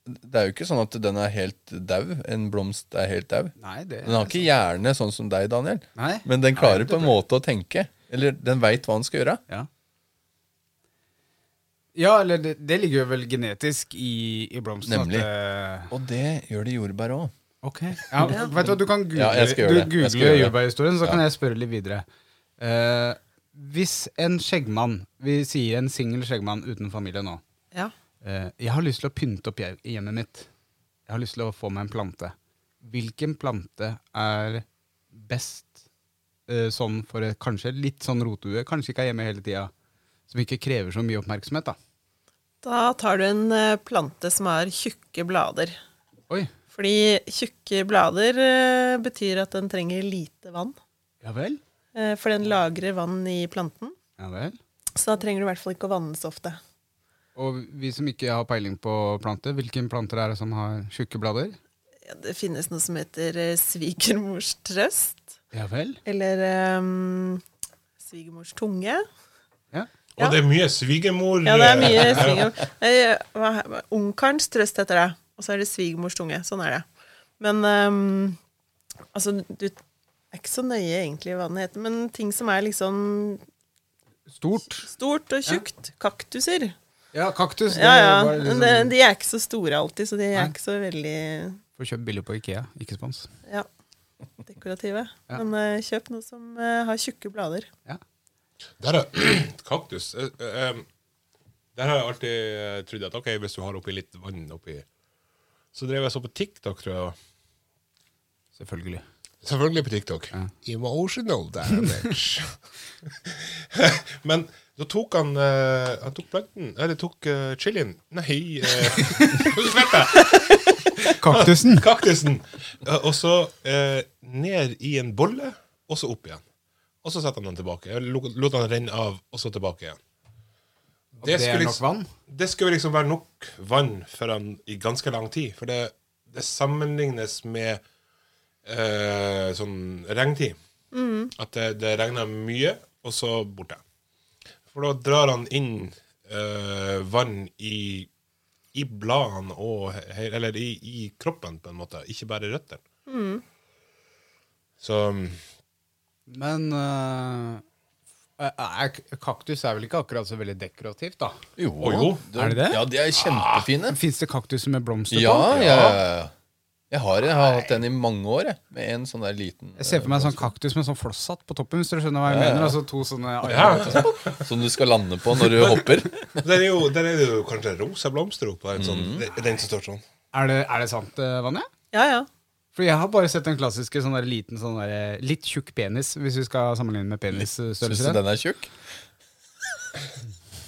Det er jo ikke sånn at den er helt dau. En blomst er helt dau.
Nei, det altså-
Den har ikke hjerne sånn som deg, Daniel,
Nei.
men den klarer på en måte å tenke. Eller den veit hva den skal gjøre.
Ja. Ja, eller det, det ligger jo vel genetisk i, i blomsten. at
Nemlig.
det-
Og det gjør det jordbær òg.
ok. Ja, vet du hva, du kan google,
Ja, jeg skal
du
gjøre det. Jeg
google
skal gjøre det.
jordbærhistorien, så kan
Ja.
jeg spørre litt videre. Eh, hvis en skjeggmann Vi sier en singel skjeggmann uten familie nå.
Ja.
Eh, jeg har lyst til å pynte opp hjem- hjemmet mitt. Jeg har lyst til å få meg en plante. Hvilken plante er best eh, sånn for et kanskje litt sånn rotue, kanskje ikke er hjemme hele tida, som ikke krever så mye oppmerksomhet? da?
Da tar du en eh, plante som har tjukke blader.
Oi,
Fordi tjukke blader eh, betyr at den trenger lite vann.
ja vel?
Eh, For den lagrer vann i planten.
Ja vel.
Så da trenger du i hvert fall ikke å vanne så ofte.
Og vi som ikke har peiling på planter, hvilke planter er det som har tjukke blader?
Ja, det finnes noe som heter eh, svigermors trøst.
Ja vel?
Eller eh, svigermors tunge.
Ja.
Og det er mye svigermor
Ja, det er mye
eh,
svigermor... Nei, hva- hva- Ungkarens trøst heter det. Og så er det svigermors tunge. Sånn er det. Men ehm, altså, du er ikke så nøye egentlig hva den heter, men ting som er liksom
Stort.
stort og tjukt. Kaktuser.
Ja, kaktus.
Ja, ja.
var liksom-
Men det, de er ikke så store alltid, så de er
Nei.
ikke så veldig
Får kjøpt billig på Ikea, ikke spons.
ja, dekorative.
Ja.
Men eh, kjøp noe som eh, har tjukke blader.
eh, Der er kaktus. Eh, eh, em, Der har jeg alltid eh, trodd at ok, hvis du har oppi litt vann oppi Så drev jeg så på TikTok, tror jeg. det var.
Selvfølgelig.
Selvfølgelig på TikTok. Emotional damage. Men da tok han eh, Han tok planten Eller tok eh, chilien Nei uh,
Kaktusen!
Kaktusen. Eh, og så eh, ned i en bolle, og så opp igjen. Og så setter han den tilbake. Jeg lo- lot han renne av, og så tilbake igjen.
det er
skulle
nok
liksom-
vann?
Det skulle liksom være nok vann for han i ganske lang tid. For det, det sammenlignes med eh, sånn regntid. At det, det regner mye, og så borte. For da drar han inn eh, vann i, i bladene og he- Eller i, i kroppen, på en måte. Ikke bare røttene. Så mm,
Men øh, er- er- kaktus er vel ikke akkurat så veldig dekorativt, da?
Jo,
Å, jo.
det-
Er det Ah, det?
Ja, de er kjempefine.
Fins det kaktuser med blomster
Ja,
på?
ja, ja. Jeg har, jeg har hatt den i mange år, jeg. Med en sånn der liten
Jeg ser for meg en sånn kaktus med sånn flosshatt på toppen, hvis dere skjønner hva jeg mener. Altså to sånne
eh, Som du skal lande på når du hopper.
Der er jo, der er det jo kanskje rosa blomster oppå en sånn, den som står sånn.
Er det, er det sant, øh, Vanja?
Ja, ja.
For jeg har bare sett den klassiske sånn der liten, sånn der, litt tjukk penis, hvis vi skal sammenligne med
Syns du
penisstørrelse.
den er tjukk?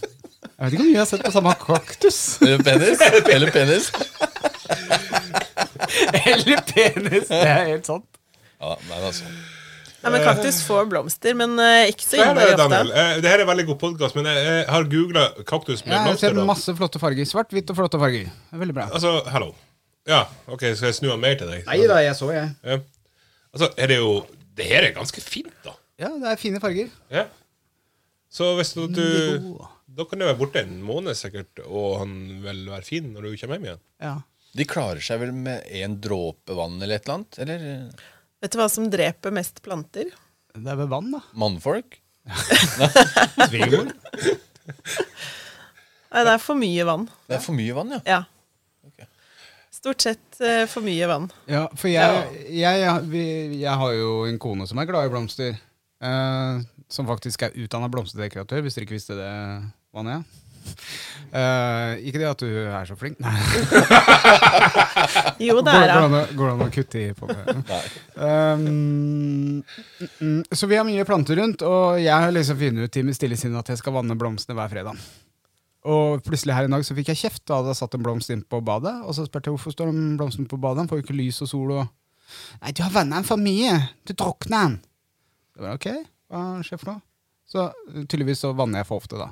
Jeg vet ikke om vi har sett på samme kaktus.
Eller penis? Eller penis?
Eller penis! Det er helt sant.
Ja, men altså
Nei, men kaktus får blomster, men eh, ikke så
Det her
innmari
Eh. er,
ofte.
Daniel, eh, det her er veldig god podkast, men jeg, jeg har googla kaktus med
Jeg har
blomster.
sett
da.
masse flotte farger. Svart, hvitt og flotte farger. Det er Veldig bra.
Altså, hallo. Ja, OK, skal jeg snu han mer til deg?
Nei da, jeg så, jeg.
Ja. Altså, er det jo Det her er ganske fint, da.
Ja, det er fine farger.
Ja. Så hvis
Mm,
du du-
Jo.
Da kan det være borte en måned sikkert, og han vil være fin når du kommer hjem igjen.
Ja.
De klarer seg vel med en dråpe vann eller et eller annet? Eller eh,
Vet du hva som dreper mest planter?
Det er ved vann, da.
mannfolk?
Svigermor.
Nei, det er for mye vann.
Det er for mye vann, ja.
Ja.
Ok.
Stort sett eh, for mye vann.
Ja, for jeg, jeg, jeg, vi, jeg har jo en kone som er glad i blomster. eh, som faktisk er utdanna blomsterdekoratør, hvis dere ikke visste det, Vanja. Eh, ikke det at du er så flink. Nei.
Jo, det
Går
er
det, går
hun.
det, an å- går det an å kutte i på det? um, mm, mm. så vi har mye planter rundt, og jeg har liksom funnet ut i mitt stille sinn at jeg skal vanne blomstene hver fredag. Og plutselig her i dag så fikk jeg kjeft. Da hadde jeg satt en blomst inn på badet. Og så spurte jeg hvorfor står den blomsten på badet, den får jo ikke lys og sol og Nei, du har vanna den for mye! Du drukner den! Det var ok, hva skjer for noe? Så uh, tydeligvis så vanner jeg for ofte, da.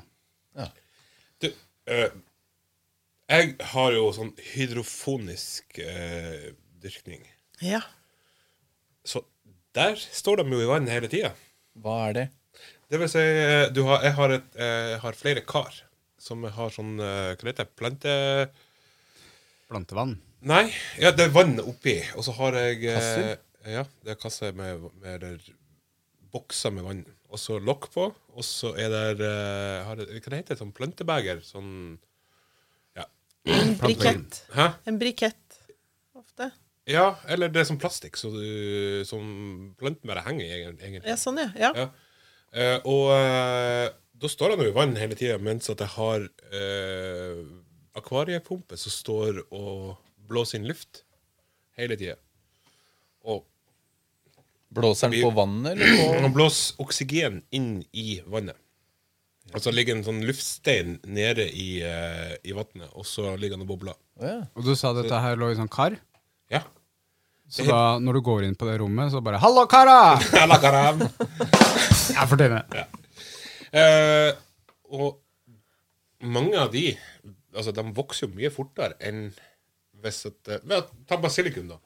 Du, eh, jeg har jo sånn hydrofonisk eh, dyrkning.
Ja.
Så der står de jo i vann hele tida.
Hva er det?
Det vil si, eh, du har, jeg, har et, eh, jeg har flere kar som har sånn eh, Hva heter det? Plante...
Plantevann.
Nei, ja, det er vann oppi, og så har jeg eh,
Kasser?
ja, det er kasser med, med eller bokser med vann, og så lokk på, og så er det eh, har det, Hva det heter det? Sånn plantebeger? Sånn Ja.
En brikett.
Hæ?
En brikett ofte.
Ja, eller det er sånn plastikk så du, som plantene bare henger i, egen-
Ja,
egentlig.
sånn, ja. ja.
Ja. Eh, og eh, da står han jo i vann hele tida, mens at jeg har eh, akvariepumpe som står og blåser inn luft hele tida. Og
Blåser den på vannet, eller?
og han blåser oksygen inn i vannet. Og så ligger en sånn luftstein nede i, eh, i vannet, og så ligger han og bobler.
Å, ja.
Og du sa dette her lå i sånn kar?
Ja.
Så da, når du går inn på det rommet, så bare 'Hallo, kara!'
Jeg lager av.
Jeg fortjener det.
Eh, og mange av de Altså, de vokser jo mye fortere enn hvis at eh, vel, Ta basilikum, da.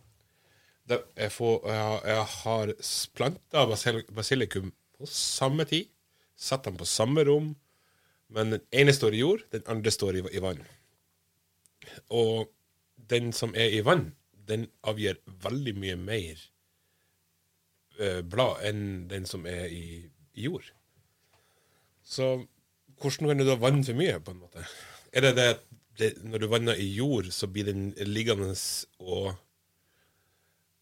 Det, jeg, får, jeg, har- jeg har planta basilikum på samme tid. Satt dem på samme rom. Men den ene står i jord, den andre står i, i vann. Og den som er i vann, den avgir veldig mye mer eh, blad enn den som er i, i jord. Så hvordan kan du da vanne for mye, på en måte? Er det det at det, når du vanner i jord, så blir den liggende og,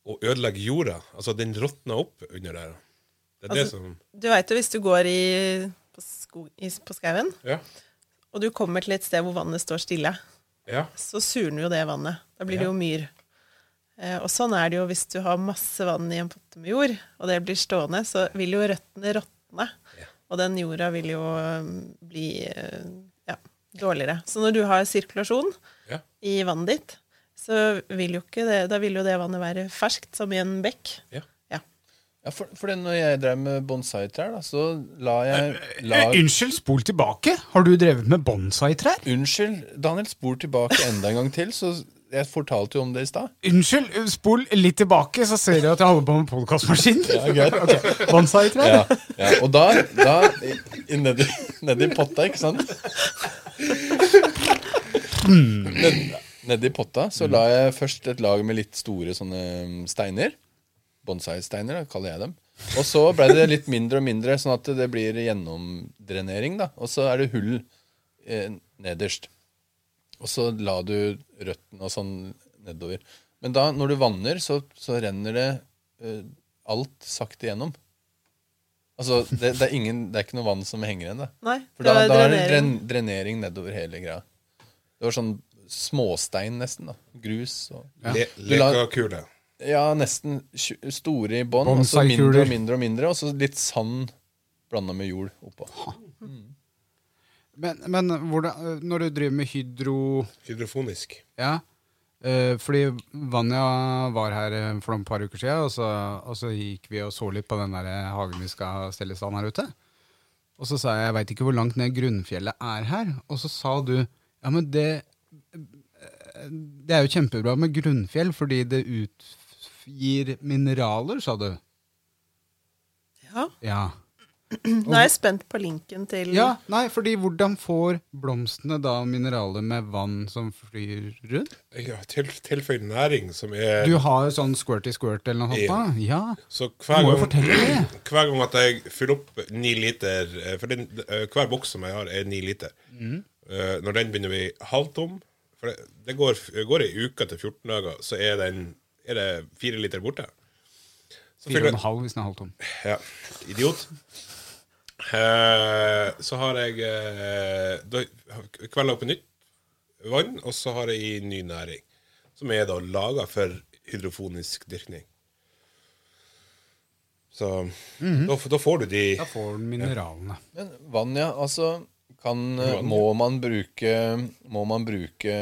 og ødelegger jorda? Altså, den råtner opp under der. Det er det
Altså-
som
Du veit jo hvis du går i, på, sko, i, på skauen,
Ja.
og du kommer til et sted hvor vannet står stille,
ja.
så surner jo det vannet. Da blir det jo myr. Eh, og sånn er det jo hvis du har masse vann i en potte med jord, og det blir stående, så vil jo røttene råtne. Og den jorda vil jo eh, bli eh, ja, dårligere. Så når du har sirkulasjon
Ja.
i vannet ditt, så vil jo ikke det, da vil jo det vannet være ferskt, som i en bekk.
ja.
Ja.
Ja, for, for det, når jeg drev med bonsai-trær, da, så la jeg la,
Eh, Unnskyld, spol tilbake. Har du drevet med bonsai-trær?
Unnskyld, Daniel, spor tilbake enda en gang til. Så jeg fortalte jo om det i stad.
Unnskyld, eh, spol litt tilbake, så ser jeg at jeg holder på med podkastmaskinen. Ok, Bonsai-trær?
Ja, ja. Og da, da i- i- nedi, nedi potta, ikke sant? Ned- Nedi potta så la jeg først et lag med litt store sånne um, steiner. Bonsai-steiner, da, kaller jeg dem. Og så ble det litt mindre og mindre, sånn at det blir gjennomdrenering. da. Og så er det hull eh, nederst. Og så la du røttene og sånn nedover. Men da, når du vanner, så, så renner det eh, alt sakte gjennom. Altså, det, det, er ingen, det er ikke noe vann som henger igjen. da.
Nei,
For da,
det
da
var
er det dren,
drenering.
drenering nedover hele greia. Det var sånn småstein, nesten. da. Grus og
Le,
Du la-
Lekakule.
Ja, nesten tju- store i bånn, og så mindre
Bonsai-kuler.
og mindre og mindre, og så litt sand blanda med jord oppå.
Men, men hvordan, eh, når du driver med hydro
Hydrofonisk.
Ja. Eh, fordi Vanja var her eh, for noen par uker siden, og så, og så gikk vi og så litt på den der eh, hagen vi skal stelle i stand her ute. Og så sa jeg jeg veit ikke hvor langt ned grunnfjellet er her. Og så sa du ja, men det eh, Det er jo kjempebra med grunnfjell fordi det utgir mineraler, sa du.
Ja.
Ja.
Nå er jeg spent på linken til
ja. Nei, fordi hvordan får blomstene da mineraler med vann som flyr rundt?
Ja, til, tilføyd næring som er
Du har jo sånn squirty squirt eller noe sånt? da? Ja.
Så hver
Du må jo
gang,
fortelle det.
hver gang at jeg fyller opp ni liter eh, For den, eh, hver boks som jeg har, er ni liter.
Mhm.
Eh, Når den begynner å bli halvtom For det, det går, går ei uke til 14 dager, så er, den, er det fire liter borte. Så
Fire og
fyller-
en halv hvis den er halvtom.
ja, idiot. Eh, så har jeg eh, da kvelda opp i nytt vann, og så har jeg i ny næring. Som er da laga for hydrofonisk dyrkning. Så da, f- da får du de
Da får den mineralene.
Men vann, ja. Altså kan, må, man bruke, må man bruke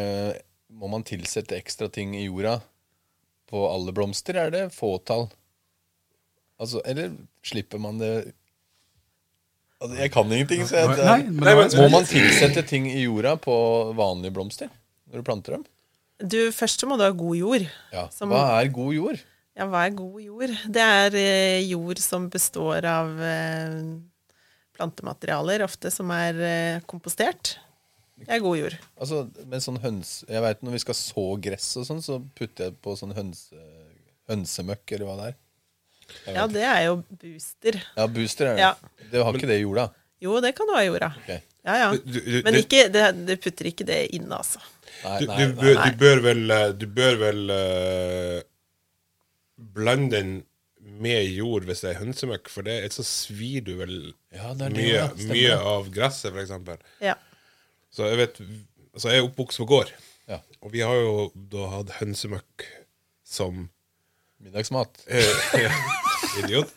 Må man tilsette ekstra ting i jorda på alle blomster? Er det fåtall? Altså, eller slipper man det altså, Jeg kan ingenting, så jeg
Nei, men
Nei,
da-
men-
Må man tilsette ting i jorda på vanlige blomster når du planter dem?
Du, først så må du ha god jord.
Ja.
Som-
Hva er god jord?
Ja, hva er god jord? Det er eh, jord som består av eh, plantematerialer, ofte som er eh, kompostert. Det er god jord.
Altså, med sånn høns Jeg vet, Når vi skal så gress og sånn, så putter jeg på sånn hønse, hønsemøkk, eller hva det er.
Ja, det er jo booster.
Ja, booster er det.
Ja.
Det har ikke det i jorda.
Jo, det kan du ha i jorda.
Ok.
Ja, ja.
Du- du-
Men
du-
ikke, det, det putter ikke det inne, altså.
Nei,
Du,
nei,
du,
nei.
bør, du bør vel eh, Du bør vel eh, blande den med jord hvis det er hønsemøkk, for det, ellers så svir du vel
Ja, det er det,
mye,
ja. Stemmer
mye
det.
av gresset, f.eks.
Ja.
Så jeg vet Så jeg er oppvokst på gård,
Ja.
og vi har jo da hatt hønsemøkk som
Middagsmat.
eh, Idiot.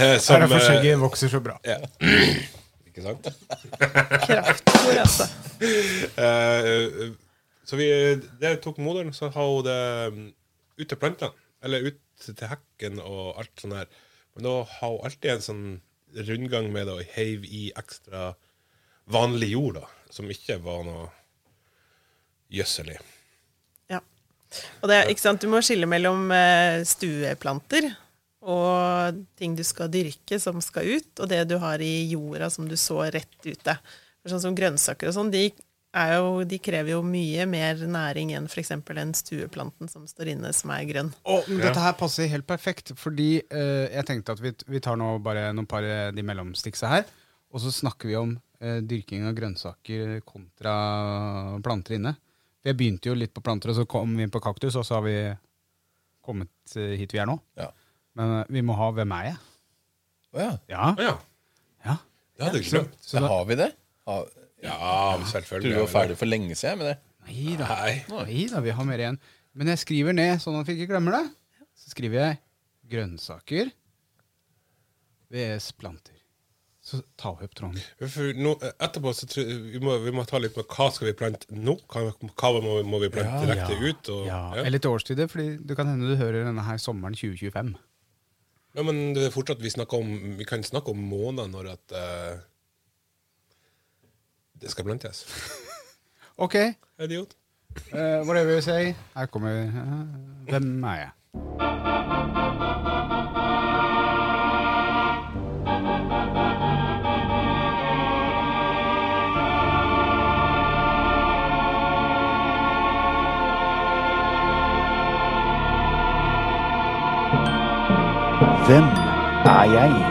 Eh,
Her
som,
er for
eh,
skjegget vokser så bra.
ikke sant?
Kraftfôr, altså.
Eh, så vi Der tok moderen, så har hun det mm, ut til plantene. Eller ut til hekken og alt sånn her. Men da har hun alltid en sånn rundgang med det og heiv i ekstra vanlig jord, da. Som ikke var noe gjødsel i.
Ja. Og det, er- ikke sant? Du må skille mellom eh, stueplanter og ting du skal dyrke som skal ut, og det du har i jorda som du så rett ute. For sånn som grønnsaker og sånn, de, er jo, de krever jo mye mer næring enn f.eks. den stueplanten som står inne, som er grønn.
Å, men Dette her passer helt perfekt, fordi eh, jeg tenkte at vi, vi tar nå bare noen par eh, de mellomstiksa her, og så snakker vi om eh, dyrking av grønnsaker kontra planter inne. Jeg begynte jo litt på planter, og så kom vi inn på kaktus, og så har vi kommet eh, hit vi er nå.
Ja.
Men eh, vi må ha Hvem er jeg?
Å ja.
Ja.
Å ja.
ja.
Det hadde jeg glemt.
Så har vi det? Har,
Ja,
tror du
selvfølgelig.
vi var ferdig for lenge siden med det.
Nei da.
Nei.
Nei da, vi har mer igjen. Men jeg skriver ned, sånn at vi ikke glemmer det. Så skriver jeg grønnsaker vs planter. Så ta opp tråden.
For nå, etterpå så tror jeg vi må vi må ta litt med hva skal vi plante nå? Hva, hva må, vi- må vi plante Ah, direkte ut? Og,
ja.
ja.
Eller til årstider, fordi det kan hende du hører denne her sommeren 2025.
Ja, men det er fortsatt vi, snakker om, vi kan snakke om måneder når at eh, det skal plantes.
OK, uh,
Idiot.
whatever you say. Her kommer eh, Hvem er jeg?
Hvem er jeg?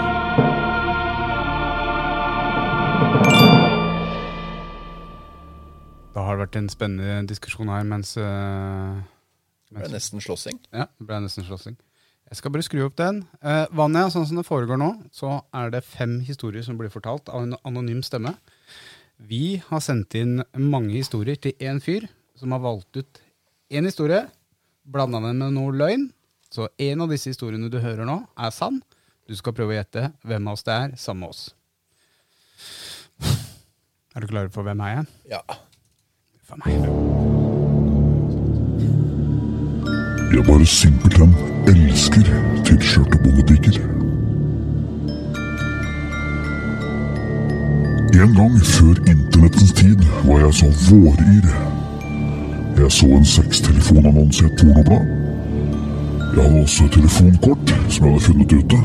Da har det vært en spennende diskusjon her mens, eh,
Det
mens
er nesten slåssing.
Ja, det ble nesten slåssing. Jeg skal bare skru opp den. Eh, Vanja, sånn som det foregår nå, så er det fem historier som blir fortalt av en anonym stemme. Vi har sendt inn mange historier til én fyr, som har valgt ut én historie, blanda den med noe løgn. Så en av disse historiene du hører nå, er sann. Du skal prøve å gjette hvem av oss det er, sammen med oss. Er du klar for hvem er jeg?
Ja.
For meg.
Jeg bare simpelthen elsker t-skjørtebondepiker. En gang før internettens tid var jeg så våryr. Jeg så en sextelefonannonse i et pornoblad. Jeg hadde også et telefonkort som jeg hadde funnet ute.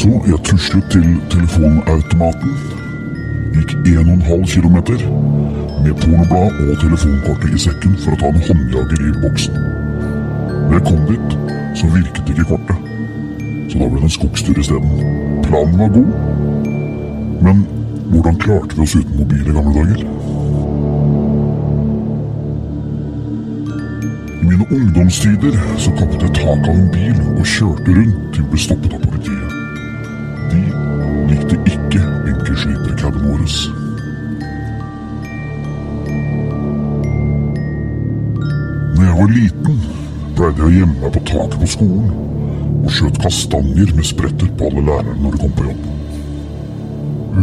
Så jeg tuslet til telefonautomaten, gikk 1,5 kilometer med pornoblad og telefonkortet i sekken for å ta en håndjager i boksen. Når jeg kom dit, så virket ikke kortet. Så da ble det en skogstur isteden. Planen var god, men hvordan klarte vi oss uten mobil i gamle dager? I mine ungdomstider så kappet jeg taket av en bil og kjørte rundt til vi ble stoppet av politiet. De likte ikke vinkelslipercaben vår. Når jeg var liten, pleide jeg å gjemme meg på taket på skolen og skjøt kastanjer med spretter på alle lærerne når de kom på jobb.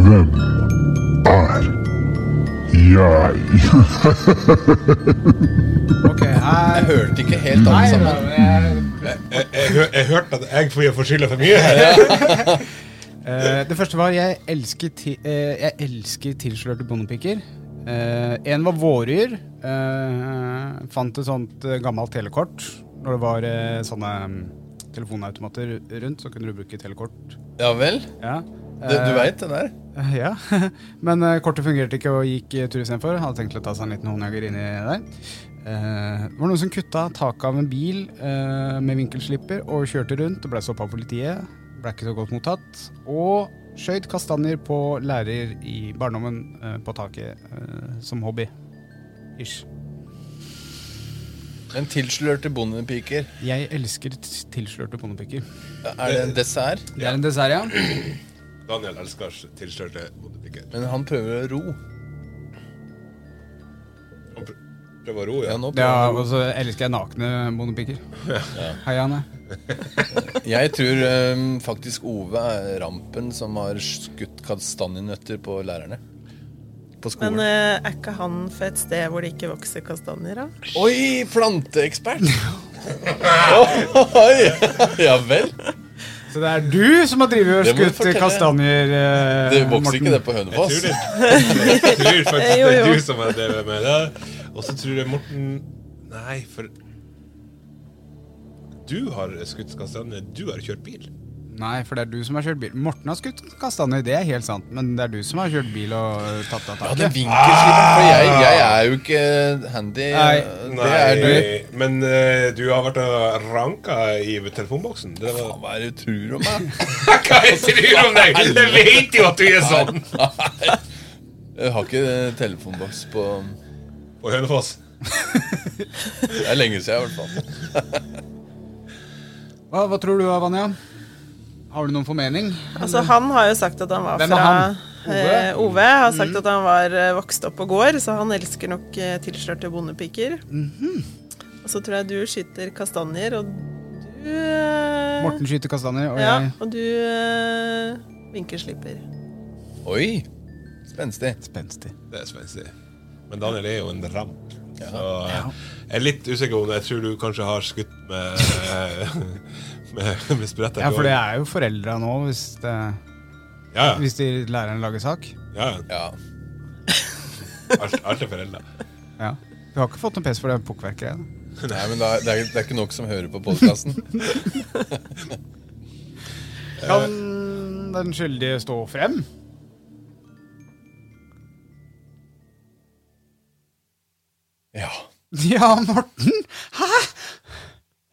Hvem er jeg?
Ok, her...
Hørte ikke helt alle
Nei,
sammen.
jeg...
Jeg, jeg, hø- jeg hørte at jeg får- får skylda for mye.
Eh, det første var jeg elsker, ti, eh, jeg elsker tilslørte bondepiker. Eh, en var våryr. eh, fant et sånt eh, gammelt telekort. Når det var eh, sånne mm, telefonautomater rundt, så kunne du bruke telekort.
Ja vel?
Ja.
Du, du
Eh,
veit den der?
eh, Ja. Men eh, kortet fungerte ikke og gikk eh, tur istedenfor. Hadde tenkt å ta seg en liten håndjager inni der. Eh, det var noen som kutta taket av en bil eh, med vinkelslipper og kjørte rundt og ble stoppa av politiet. Ble ikke så godt mottatt. Og skjøt kastanjer på lærer i barndommen eh, på taket eh, som hobby. Ish.
Men tilslørte bondepiker,
Jeg elsker t- tilslørte ponnipiker.
er det en dessert?
Det er en dessert, ja.
Daniel elsker tilslørte bondepiker.
Men han prøver å ro.
Han pr- prøver å ro,
Ja,
ja.
nå
ja
prøver han å
og så elsker jeg nakne bondepiker. Hei, Anne.
ro. Jeg tror øhm, faktisk Ove er rampen som har skutt kastanjenøtter på lærerne. På
Men
skolen.
eh, er ikke han fra et sted hvor det ikke vokser kastanjer, da?
Oi, planteekspert! Oi, ja vel.
Så det er du som har drevet og
Det må du
skutt
fortelle.
kastanjer, eh,
Det vokser
Morten.
ikke det på
Jeg tror
Hønefoss.
det. Jeg tror faktisk
Jo,
det
jo.
er du som har drevet med det. Og så tror jeg Morten Nei, for Du har skutt kastanjer. Du har kjørt bil.
Nei, for det er du som har kjørt bil. Morten har skutt kastanjer, det er helt sant. Men det er du som har kjørt bil og eh, tatt av
Ja, det er
taket.
vinkelslippen, for jeg, jeg er jo ikke handy.
Nei,
det er du.
Nei, men eh, du har vært og ranka i telefonboksen. Det var
Faen, Hva er det du tror om meg?
Hva jeg sier om deg?! Jeg vet jo at du er sånn!
Jeg har ikke eh, telefonboks på
På Hønefoss.
Det er lenge siden, i hvert fall.
Hva, hva tror du, Vanja? Har du noen formening?
Altså, han har jo sagt at han var
Hvem er
fra
han? Mm.
eh, Ove har sagt at han var eh, vokst opp på gård, så han elsker nok eh, tilslørte bondepiker.
Mhm.
Og så tror jeg du skyter kastanjer, og du eh,
Morten skyter kastanjer, og
Ja,
jeg
og du eh, vinkelslipper.
Oi! Spenstig.
Spenstig.
Det er spenstig. Men Daniel er jo en ramp. Så eh, jeg er litt usikker om det. Jeg tror du kanskje har skutt med Med, med spretter.
Ja, for det er jo foreldra nå, hvis, det,
Ja, ja.
hvis de læreren lager sak.
ja. ja.
Ja.
Alt, alt er foreldre.
Ja. Du har ikke fått noe pes for det pukkverkgreiene?
Nei, men det er, det er, det er ikke nok som hører på podkasten.
Kan
Eh.
den skyldige stå frem?
Ja.
Ja, Morten!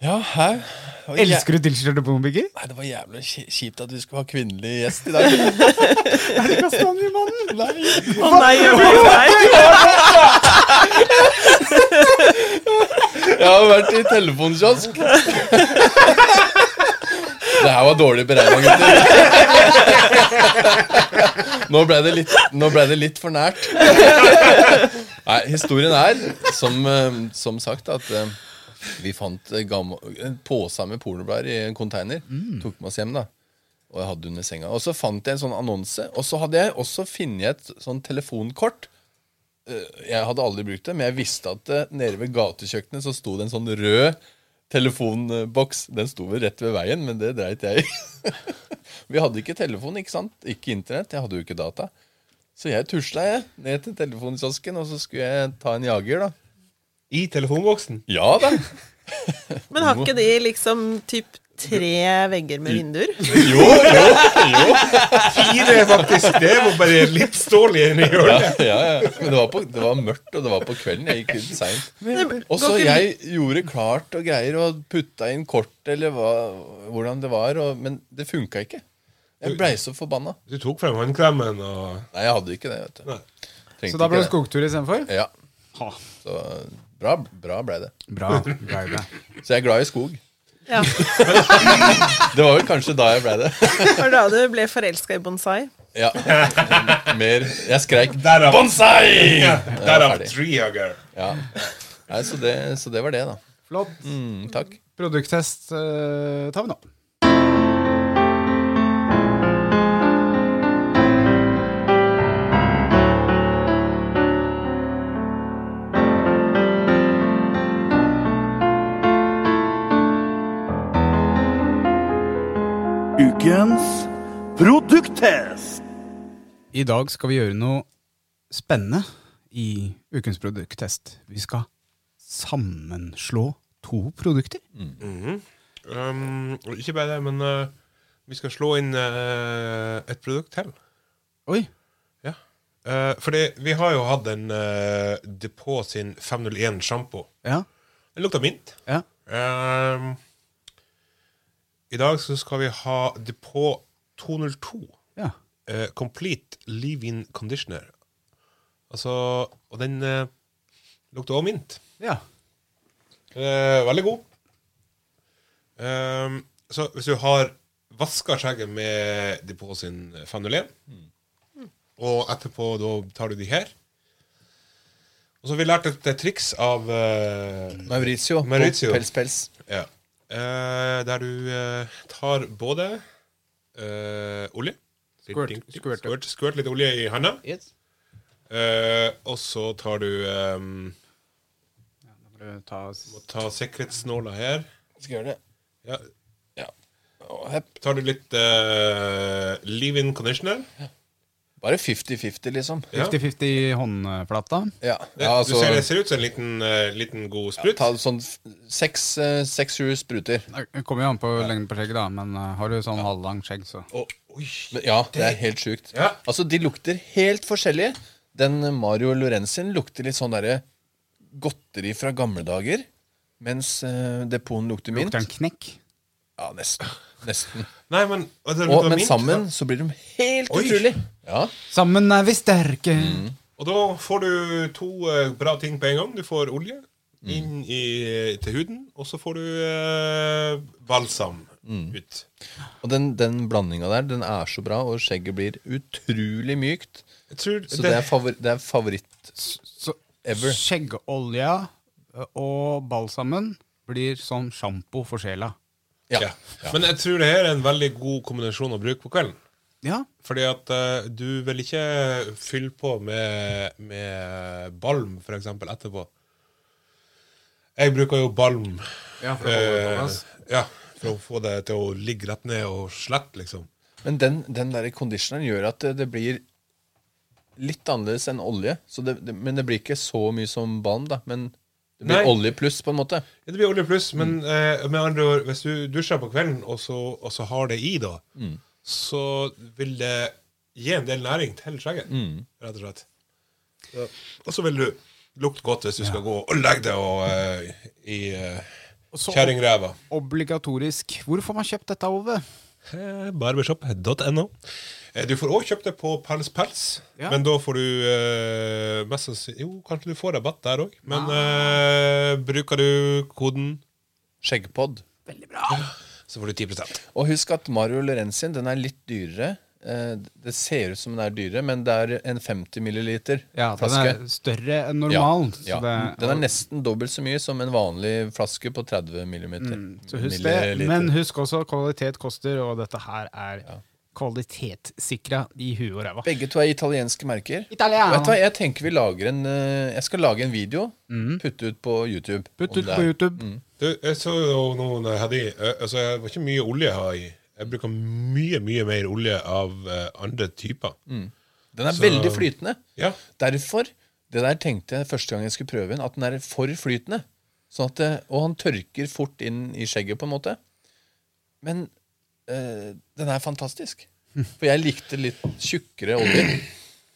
Ja, hæ? Det var jæ-
Elsker du tilslørte bombiger?
Nei, det var jævlig kji- kjipt at vi skulle ha kvinnelig gjest i dag.
Er det kastanjemannen?
Å nei, jeg blir feil!
Jeg har vært i telefonkiosk. Det her var dårlig beregna, gutter. Nå ble, det litt, nå ble det litt for nært. Nei, historien er, som, eh, som sagt, at eh, vi fant eh, gammel, en pose med pornoblader i en container. Tok med oss hjem, da. Og jeg hadde under senga. Og så fant jeg en sånn annonse. Og så hadde jeg også funnet et sånn telefonkort. Jeg hadde aldri brukt det, men jeg visste at eh, nede ved gatekjøkkenet så sto det en sånn rød telefonboks. Den sto vel rett ved veien, men det dreit jeg i. Vi hadde ikke telefon, ikke sant? Ikke internett. Jeg hadde jo ikke data. Så jeg tusla jeg ned til telefonkiosken, og så skulle jeg ta en jager, da.
I telefonboksen?
Ja da!
Men har ikke de liksom typ tre vegger med vinduer?
Jo, jo, jo.
Fire, faktisk. Det var bare litt stål igjen i
Ja,
hjørnet.
ja, ja. Men det var, på, det var mørkt, og det var på kvelden. Jeg gikk ut seint. Og så jeg gjorde klart og greier og putta inn kort eller hva, hvordan det var, og, men det funka ikke. Jeg blei så forbanna.
Du tok frem håndklemmen og
Nei, jeg hadde ikke det. vet du.
Nei.
Trengte
Så da ble
ikke
det skogtur istedenfor?
Ja. Så bra, bra blei det.
Bra. bra, bra.
Så jeg er glad i skog.
Ja.
Det var vel kanskje da jeg blei det.
Var da du ble forelska i bonsai?
Ja. Mer Jeg skreik
Derav,
Bonsai!
derav
ferdig.
treehugger.
Ja. Nei, så, det, så det var det, da.
Flott.
Mm, takk.
Produkttest eh, tar vi nå.
Ukens produkttest.
I dag skal vi gjøre noe spennende i ukens produkttest. Vi skal sammenslå to produkter.
Um, ikke bare det, men uh, vi skal slå inn uh, et produkt til.
Oi.
Ja. Uh, fordi vi har jo hatt en uh, Depot sin 501-sjampo.
Ja.
Den lukter mint.
ja.
Um, I dag så skal vi ha Depot 202.
ja.
eh, Complete Leave-In Conditioner. Altså Og den eh, lukter også mint.
ja.
Eh, veldig god. Ehm, så hvis du har vaska skjegget med de på sin fenolé, og etterpå da tar du de her Og så har vi lært et, et triks av eh,
Maurizio. på
Maurizio.
Pels, pels.
ja. Eh, Der du eh, tar både eh, olje
Squirt,
Ding, ding, ding.
squirt.
Squirt, squirt litt olje i handa. Eh, og så tar du ehm,
Ta
Må ta sikkerhetssnåla her.
Skal gjøre det.
Ja.
Ja. Og hepp.
Tar du litt eh, leave-in conditioner?
Bare 50-50, liksom.
Ja.
50-50 i håndflata.
Ja,
Det,
ja altså
du ser det ser ut som en liten, eh, liten god sprut.
Ta sånn f- seks, eh, seks-sju spruter.
Det kommer jo an på lengden på skjegget, da, men eh, har du sånn halvlangt skjegg, så
Å, oi.
Men Ja, det er helt sjukt.
Ja.
Altså, de lukter helt forskjellige. Den Mario Lorenzin lukter litt sånn derre godteri fra gamle dager. Mens uh, depoten lukter mint.
lukter den knekk.
Ja, nesten. nesten.
Nei, men, og det
Og,
lukter
men
mint,
sammen
da.
så blir de helt
Oi.
utrolig. Ja.
Sammen er vi sterke!
Og da får du to eh, bra ting på en gang. Du får olje
Mm.
inn i, til huden, og så får du eh, balsam
Mm.
ut.
Og den, den blandinga der, den er så bra, og skjegget blir utrolig mykt.
Jeg tror
Så det, er, favor det er favoritt
Så
Ever.
skjeggolja eh, og balsamen blir sånn sjampo for sjela.
Ja.
ja. Men jeg tror det her er en veldig god kombinasjon å bruke på kvelden.
Ja,
Fordi at eh, du vil ikke fylle på med, med balm, for eksempel, etterpå. Jeg bruker jo balm.
Ja, for å holde det på
eh,
plass.
ja, for å få det til å ligge rett ned og slett, liksom.
Men den, den der conditioneren gjør at det, det blir litt annerledes enn olje. Så det, det, men det blir ikke så mye som balm, da. Men det blir
Nei.
olje pluss, på en måte.
Ja, det blir olje pluss, men
Mm.
eh, med andre ord, hvis du dusjer på kvelden, og så, og så har det i, da,
Mm.
så vil det gi en del næring til skjegget,
Mm.
rett og slett. Så, og så vil du lukte godt hvis du skal gå og legge deg og, eh, i uh,
så-
kjerringræva.
Obligatorisk. Hvor får man kjøpt dette, Ove?
Eh, Barbershop.no. Eh, Du får òg kjøpt det på Pels Pels,
Ja.
men da får du eh, mest sannsynlig Jo, kanskje du får rabatt der òg, men
Ah.
eh, bruker du koden,
Skjeggpod.
så får du 10
Og husk at Mario Lorenzin den er litt dyrere. Eh, Det ser ut som den er dyrere, men det er en 50 milliliter
Ja, den
flaske.
er større enn
Ja,
normal.
ja.
Så, det,
Den er nesten dobbelt så mye som en vanlig flaske på 30 millimeter.
Mm, så husk det.
Milliliter.
Men husk også kvalitet koster, og dette her er kvalitetssikra i huet og ræva.
Begge to er italienske merker.
Italiano.
Vet du hva, Jeg tenker vi lager en eh, Jeg skal lage en video, putte ut på YouTube.
Mm. Putt
om
ut
det
på
er- Mm.
YouTube.
Du, jeg så jo noen hadde i eh, Altså, det var ikke mye olje jeg har i. Jeg bruker mye, mye mer olje av eh, andre typer.
Den er
Så-
veldig flytende.
Ja.
Derfor det der tenkte jeg første gang jeg skulle prøve den, at den er for flytende. Sånn at det, og han tørker fort inn i skjegget, på en måte. Men eh, den er fantastisk. For jeg likte litt tjukkere olje.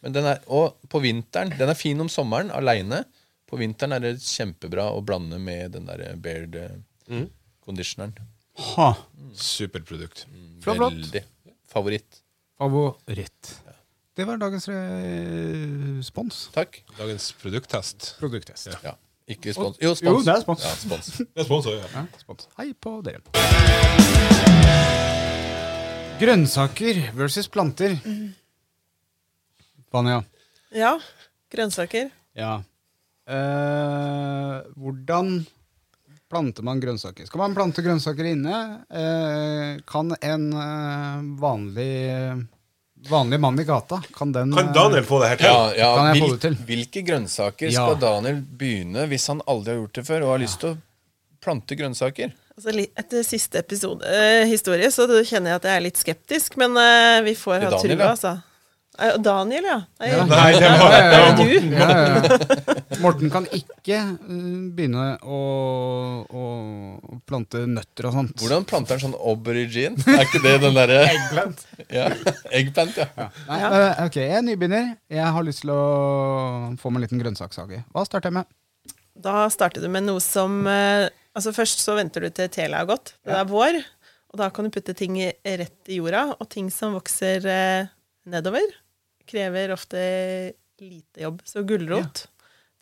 Men den er, og på vinteren Den er fin om sommeren aleine. På vinteren er det kjempebra å blande med den der beard eh,
Mm.
conditioneren.
Ha.
Mm. Superprodukt.
Flott, flott.
Veldig favoritt.
Favoritt. Det var dagens eh, respons.
Takk.
Dagens produkttest.
Produkttest.
Ja. Ikke spons. Jo, spons.
Jo, det er spons.
Ja, spons.
Det er sponsor, ja.
Ja, spons. Hei på dere. Grønnsaker versus planter. Vanja.
Ja. Grønnsaker.
Ja. Eh, hvordan planter man grønnsaker? Skal man plante grønnsaker inne? Eh, kan en eh, vanlig Vanlig mann i gata Kan den
Kan Daniel få det her til?
Ja, ja,
Kan jeg få
hvil-
det til?
Hvilke grønnsaker
Ja.
skal Daniel begynne hvis han aldri har gjort det før og har lyst til å plante grønnsaker?
Altså, li- etter siste episode, eh, historie så kjenner jeg at jeg er litt skeptisk, men eh, vi får
Til
ha
Daniel,
trua,
ja.
altså. Eh, Daniel, ja. Nei,
Nei, det var,
det
det var
var du.
Ja, ja, ja. eh, Morten kan ikke eh, begynne å, å å plante nøtter og sånt.
Hvordan planter han sånn aubergine? Er ikke det den derre Eggplant. Ja, eggplant, ja.
Nei, eh, ok, Jeg er nybegynner. Jeg har lyst til å få meg en liten grønnsakshage. Hva starter jeg med?
Da starter du med noe som eh, Altså Først så venter du til tela har gått. Det er vår. Og da kan du putte ting i- rett i jorda. Og ting som vokser eh, nedover, krever ofte lite jobb. Så gulrot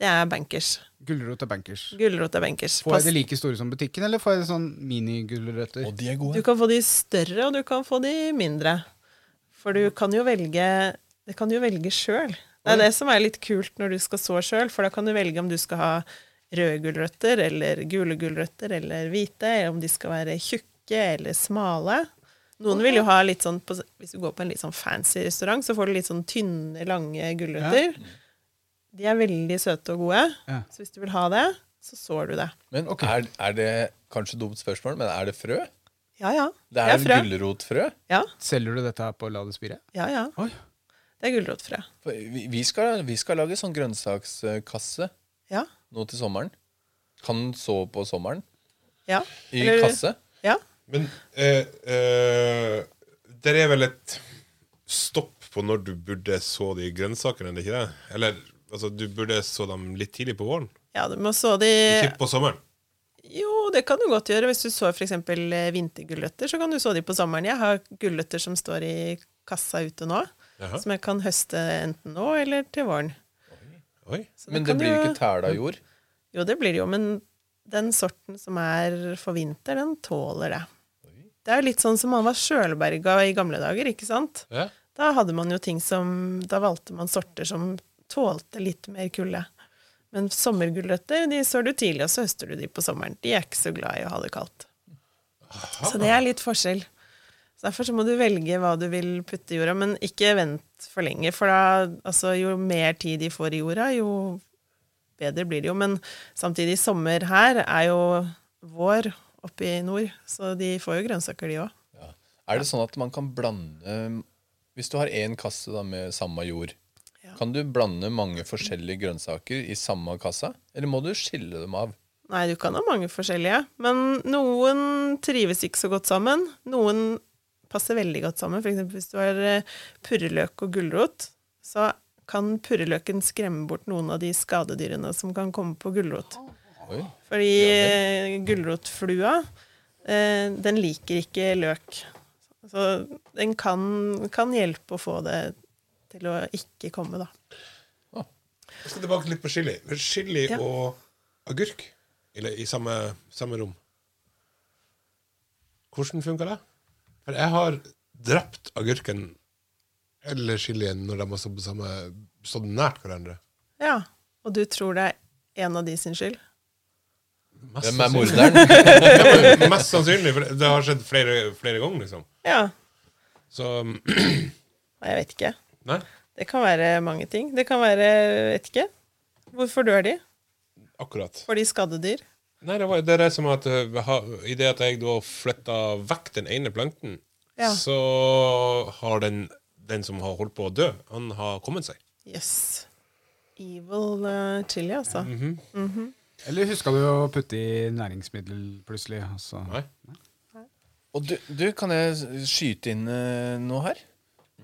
Det er bankers.
Gulrot og bankers.
Gulrot er bankers.
Får
Pass-
jeg de like store som butikken, eller får jeg sånn minigulrøtter?
Og de er
Du
gode.
kan få de større, og du kan få de mindre. For du kan jo velge Det kan du jo velge sjøl. Det er det som er litt kult når du skal så sjøl, for da kan du velge om du skal ha røde gulrøtter eller gule gulrøtter eller hvite, eller om de skal være tjukke eller smale. Noen vil jo ha litt sånn på, Hvis du går på en litt sånn fancy restaurant, så får du litt sånn tynne, lange gulrøtter. De er veldig søte og gode,
Ja.
så hvis du vil ha det, så sår du det.
Men er, er det kanskje dumt spørsmål, men er det frø?
Ja, ja.
Det er,
frø.
gulrotfrø.
Ja,
Selger du dette her på La det spire?
ja, ja.
Oi.
Det er gulrotfrø.
For Vi, vi, skal, vi skal lage sånn grønnsakskasse
Ja.
nå til sommeren. Kan så på sommeren
Ja.
i
Eller-
kasse.
Ja.
Men eh, eh, der er vel et stopp på når du burde så de grønnsakene, er det ikke det? Eller altså, du burde så dem litt tidlig på våren,
ja, du må så de
ikke på sommeren.
Jo, det kan du godt gjøre. Hvis du så f.eks. vintergulrøtter, så kan du så de på sommeren. Jeg har gulrøtter som står i kassa ute nå,
Jaha.
som jeg kan høste enten nå eller til våren.
Oi.
Så
Men det
da kan
blir
du-
ikke tæla jord.
Jo, det blir det jo, men den sorten som er for vinter, den tåler det. Det er jo litt sånn som man var sjølberga i gamle dager, ikke sant?
Ja.
Da hadde man jo ting som Da valgte man sorter som tålte litt mer kulde. Men sommergulrøtter de sår du tidlig, og så høster du de på sommeren. De er ikke så glad i å ha det kaldt. Så det er litt forskjell. Så Derfor så må du velge hva du vil putte i jorda, men ikke vent for lenge. For da, altså, jo mer tid de får i jorda, jo bedre blir det jo. Men samtidig, sommer her er jo vår oppe i nord, så de får jo grønnsaker, de òg.
Ja. Er det sånn at man kan blande Hvis du har én kasse da med samme jord, kan du blande mange forskjellige grønnsaker i samme kassa? Eller må du skille dem av?
Nei, du kan ha mange forskjellige. Men noen trives ikke så godt sammen. Noen passer veldig godt sammen. For eksempel hvis du har eh, purreløk og gulrot, så kan purreløken skremme bort noen av de skadedyrene som kan komme på gulrot.
Oi.
Fordi eh, gulrotflua, eh, den liker ikke løk. Så den kan, kan hjelpe å få det til å ikke komme, da.
Jeg skal tilbake litt på chili. Chili
Ja.
og agurk Eller i samme, samme rom. Hvordan funker det? For jeg har drept agurken eller chilien når de har stått, på samme, stått nært hverandre.
Ja. Og du tror det er en av de sin skyld?
Mest
Hvem er
sannsynlig.
morderen?
Ja, men Mest sannsynlig, for det har skjedd flere, flere ganger. liksom
Ja.
Så
Nei, jeg vet ikke.
nei,
Det kan være mange ting. Det kan være, vet ikke Hvorfor dør de?
akkurat.
Får de skadedyr?
Nei, det, var, det er det som at eh, ha- I det at jeg da flytta vekk den ene planten,
Ja.
så har den, den som har holdt på å dø, han har kommet seg.
Jøss. Evil eh, chili, altså.
Eller huska du å putte i næringsmiddel plutselig? Altså.
Nei.
Og du, du, kan jeg skyte inn eh, noe her?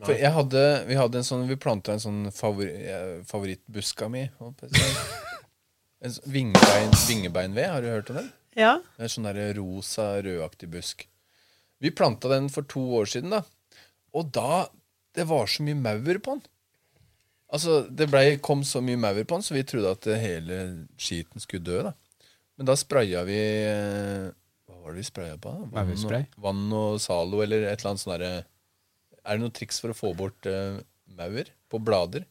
For jeg hadde, vi hadde en sånn Vi planta en sånn favor, eh, favorittbuska mi. holdt på å si. En sånn vingebein, vingebeinved. Har du hørt om den?
Ja.
Det er sånn der rosa, rødaktig busk. Vi planta den for to år siden, da. Og da Det var så mye maur på den. Altså, det ble, kom så mye maur på den, så vi trodde at det hele skiten skulle dø, da. Men da spraya vi eh, Hva var det vi spraya på? da? Vann og-
Maurspray?
Vann og Zalo eller et eller annet sånn derre Er det noe triks for å få bort eh, maur på blader?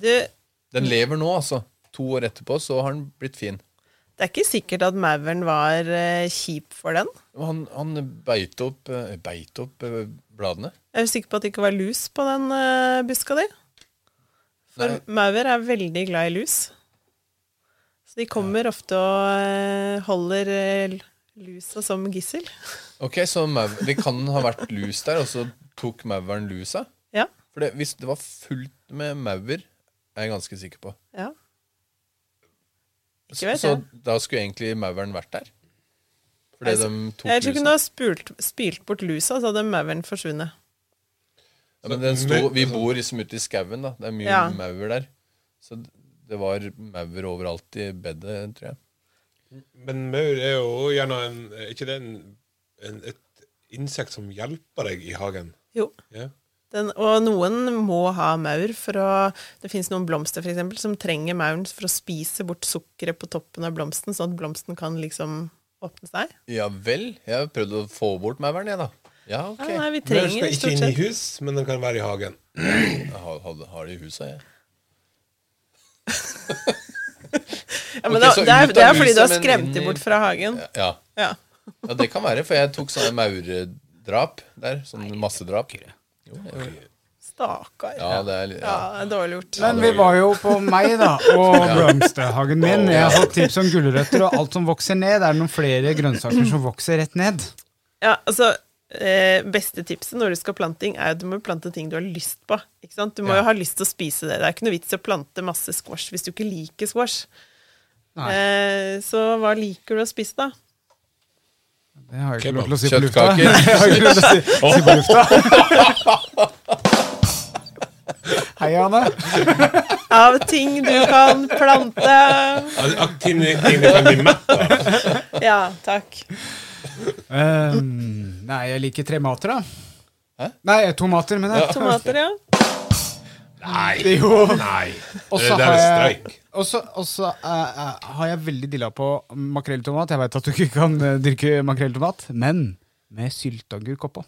Du, det
Den lever nå, altså. To år etterpå så har den blitt fin.
er ikke sikkert at mauren var eh, kjip for den.
Og Han, han beit opp, eh, beit opp eh, bladene.
Jeg er sikker på at det ikke var lus på den eh, buska di. For
Nei.
maur er veldig glad i lus. Så de kommer ofte og eh, holder eh, lusa som gissel.
Ok, så maur, Det kan ha vært lus der, og så tok mauren lusa.
Ja.
For det, hvis det var fullt med maur, er jeg ganske sikker på.
ja. Ikke
Så,
vet
så
jeg.
da skulle egentlig mauren vært der. Fordi
Altså,
de tok
Jeg tror ikke hun
lusa.
har spult, spilt bort lusa, så hadde mauren forsvunnet.
Ja, men den sto, vi bor liksom ute i skauen, da. Det er mye
Ja.
maur der. Så det var maur overalt i bedet, tror jeg.
Men maur er jo gjerne en, er ikke det en, en, et insekt som hjelper deg i hagen.
Jo,
Ja.
Den, og noen må ha maur for å Det fins noen blomster for eksempel, som trenger mauren for å spise bort sukkeret på toppen av blomsten, sånn at blomsten kan liksom åpne seg.
Ja vel? Jeg har prøvd å få bort mauren, jeg, da. Ja, ok.
Ja, Ah, nei, vi
Den
trenger
skal ikke
stort
inn i
sett
hus, men den kan være i hagen.
Jeg har, har, har det i huset, jeg.
ja, men
Ok,
da,
så ut
det, er,
av
det er fordi
huset,
du har
men
skremt
inn
dem
i-
bort fra hagen.
Ja.
Ja.
ja, det kan være, for jeg tok sånne maurdrap der. Sånn massedrap. Jo, jeg,
Stakkar.
ja, det er litt
Ja,
ja.
det er dårlig gjort.
Men vi var jo på meg, da, og blomsterhagen min. Jeg har fått tips om gulrøtter, og alt som vokser ned, det er noen flere grønnsaker som vokser rett ned.
Ja, altså eh, Beste tipset når du skal planting, er at du må plante ting du har lyst på. Ikke sant? Du må jo ha lyst til å spise det. Det er ikke noe vits i å plante masse squash hvis du ikke liker squash.
Nei.
Eh, så hva liker du å spise, da?
Det har jeg ikke
Kebab.
lov til å si på lufta.
Kjøttkaker.
Jeg har ikke lov til å si, si på lufta. Hei, Anne.
Av ting du kan plante.
Al- ak- Ting ting du kan bli mett av.
Ja, takk.
Ehm, nei, jeg liker tomater, da.
Hæ?
Nei, tomater, mener jeg.
Tomater, ja.
Nei.
Jo.
Nei.
Og
Det
så
der
har
er
jeg,
streik.
og så- og så, eh, eh, har jeg veldig dilla på makrelltomat. Jeg veit at du ikke kan eh, dyrke makrelltomat, men med sylteagurk oppå.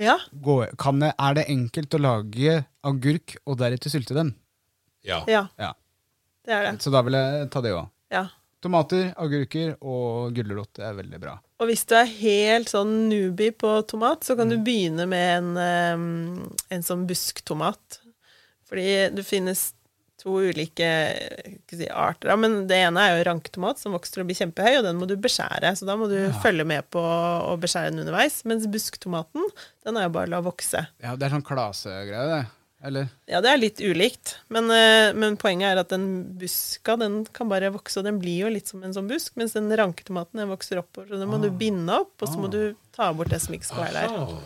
ja.
Gå- kan jeg- Er det enkelt å lage agurk og deretter sylte dem?
Ja.
Ja,
Ja.
det er det.
Så da vil jeg ta det òg.
Ja.
Tomater, agurker og gulrot er veldig bra.
Og hvis du er helt sånn newbie på tomat, så kan du begynne med en, ehm, en sånn busktomat. Fordi det finnes to ulike jeg skal si, arter. da, Men det ene er jo ranktomat, som vokser og blir kjempehøy, og den må du beskjære. Så da må du følge med på å beskjære den underveis. Mens busktomaten, den er jo bare å la vokse.
Ja, Det er sånn klasegreie, det. Eller?
Ja, det er litt ulikt, men, eh, men poenget er at den buska den kan bare vokse, og den blir jo litt som en sånn busk, mens den ranketomaten den vokser oppover, så den må du binde opp, og så må du ta bort det som ikke skal være
Ah.
der.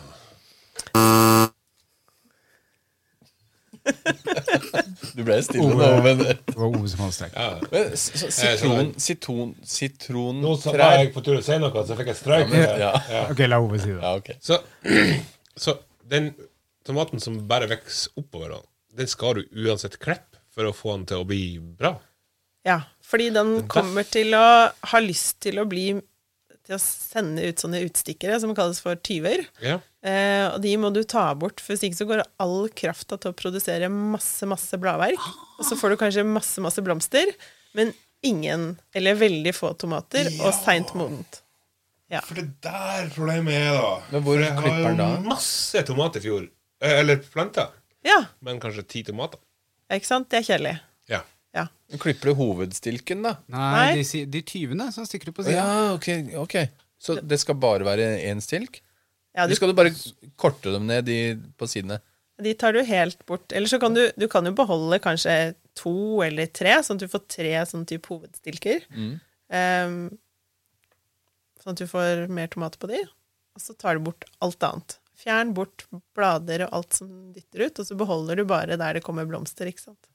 Du ble stille nå, men, sånn-
Wow, som han strek.
Oh, men s- så, sitron, sitron,
Nå så var
sitrontrær
jeg på tur til å si noe, så fikk jeg streik.
ja.
Ok, la Ove si det.
ja, ok.
Så, så den tomaten som bare vokser oppover, da, den skal du uansett klippe for å få den til å bli bra.
Ja, fordi den kommer til å ha lyst til å bli til å sende ut sånne utstikkere som kalles for tyver.
Ja.
Eh, og de må du ta bort, for hvis ikke så går all krafta til å produsere masse, masse bladverk. Og så får du kanskje masse, masse blomster, men ingen, eller veldig få tomater, og seint modent.
For det der problemet er, da
Men hvor
For jeg har
klipper den
jo
da?
Masse tomat i fjor. Eh, Eller planter.
Ja,
Men kanskje ti tomater.
ikke sant? Det er kjedelig.
Ja.
Ja.
Men Klipper du hovedstilken, da?
Nei, de, si- de tyvene som stikker ut på sida.
Ja, ok. ok Så det skal bare være én stilk?
Ja,
Eller
du,
skal du bare korte dem ned i, på sidene?
de tar du helt bort. Eller så kan du, du kan jo beholde kanskje to eller tre, sånn at du får tre sånn type hovedstilker. Ehm, sånn at du får mer tomater på de. Og så tar du bort alt annet. Fjern bort blader og alt som dytter ut, og så beholder du bare der det kommer blomster, ikke sant.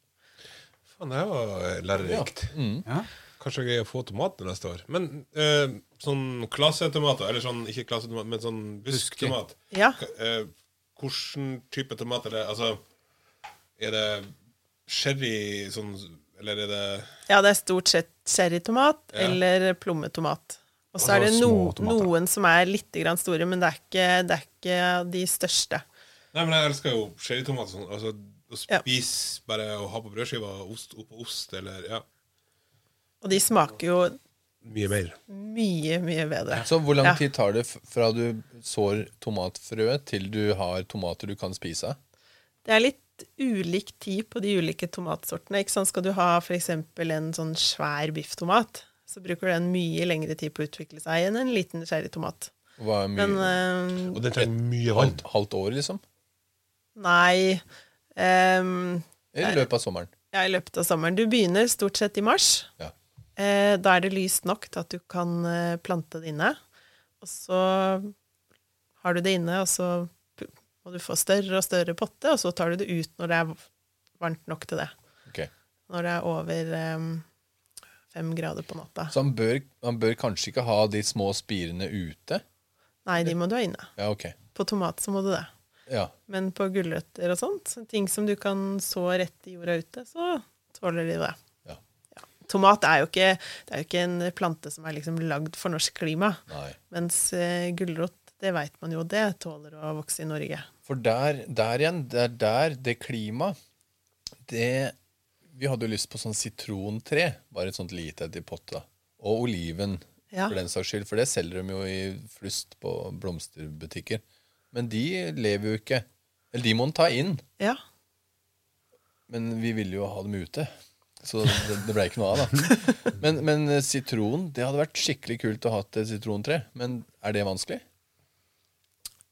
Faen, det var eh, lærerikt.
Mm.
Ja.
Kanskje jeg greier å få tomater neste år. Men eh, sånn klasetomater, eller sånn ikke klasetomat, men sånn busktomat
Ja.
K- eh, Hvilken type tomat er det? Altså, er det sherry sånn Eller er det
Ja, det er stort sett cherrytomat eller plommetomat. Og så er det no, noen som er litt grann store, men det er, ikke, det er ikke de største.
Nei, men jeg elsker jo sherrytomater sånn. Altså, å
Ja.
spise bare å ha på brødskiva og ost oppå ost, eller ja.
Og de smaker jo
Mye mer.
mye, mye bedre.
Så hvor lang
Ja.
tid tar det f- fra du sår tomatfrøet, til du har tomater du kan spise av?
Det er litt ulik tid på de ulike tomatsortene. Ikke sant? Skal du ha f.eks. en sånn svær bifftomat, så bruker den mye lengre tid på å utvikle seg enn en liten cherrytomat.
Hva er mye-
Men eh,
Og den trenger mye vann.
halvt, halvt år, liksom?
nei ehm,
I løpet av sommeren.
Ja, i løpet av sommeren. Du begynner stort sett i mars.
Ja.
Eh, da er det lyst nok til at du kan eh, plante det inne. Og så har du det inne, og så pu- må du få større og større potte, og så tar du det ut når det er varmt nok til det.
Ok.
Når det er over eh, fem grader på natta.
Så han bør, han bør kanskje ikke ha de små spirene ute?
Nei, de må du ha inne.
Ja, ok.
På tomat så må du det.
Ja.
Men på gulrøtter og sånt, så ting som du kan så rett i jorda ute, så tåler de det.
Ja.
Tomat er jo ikke, det er jo ikke en plante som er liksom lagd for norsk klima.
Nei.
Mens eh, gulrot, det veit man jo, det tåler å vokse i Norge.
For der, der igjen, det er der det klimaet Det Vi hadde jo lyst på sånn sitrontre. Bare et sånt lite et i potta. Og oliven,
Ja.
for den saks skyld. For det selger de jo i flust på blomsterbutikker. Men de lever jo ikke. Eller de må en ta inn.
Ja.
Men vi ville jo ha dem ute. Så det, det ble ikke noe av, da. Men, men eh, sitron Det hadde vært skikkelig kult å ha et eh, sitrontre. Men er det vanskelig?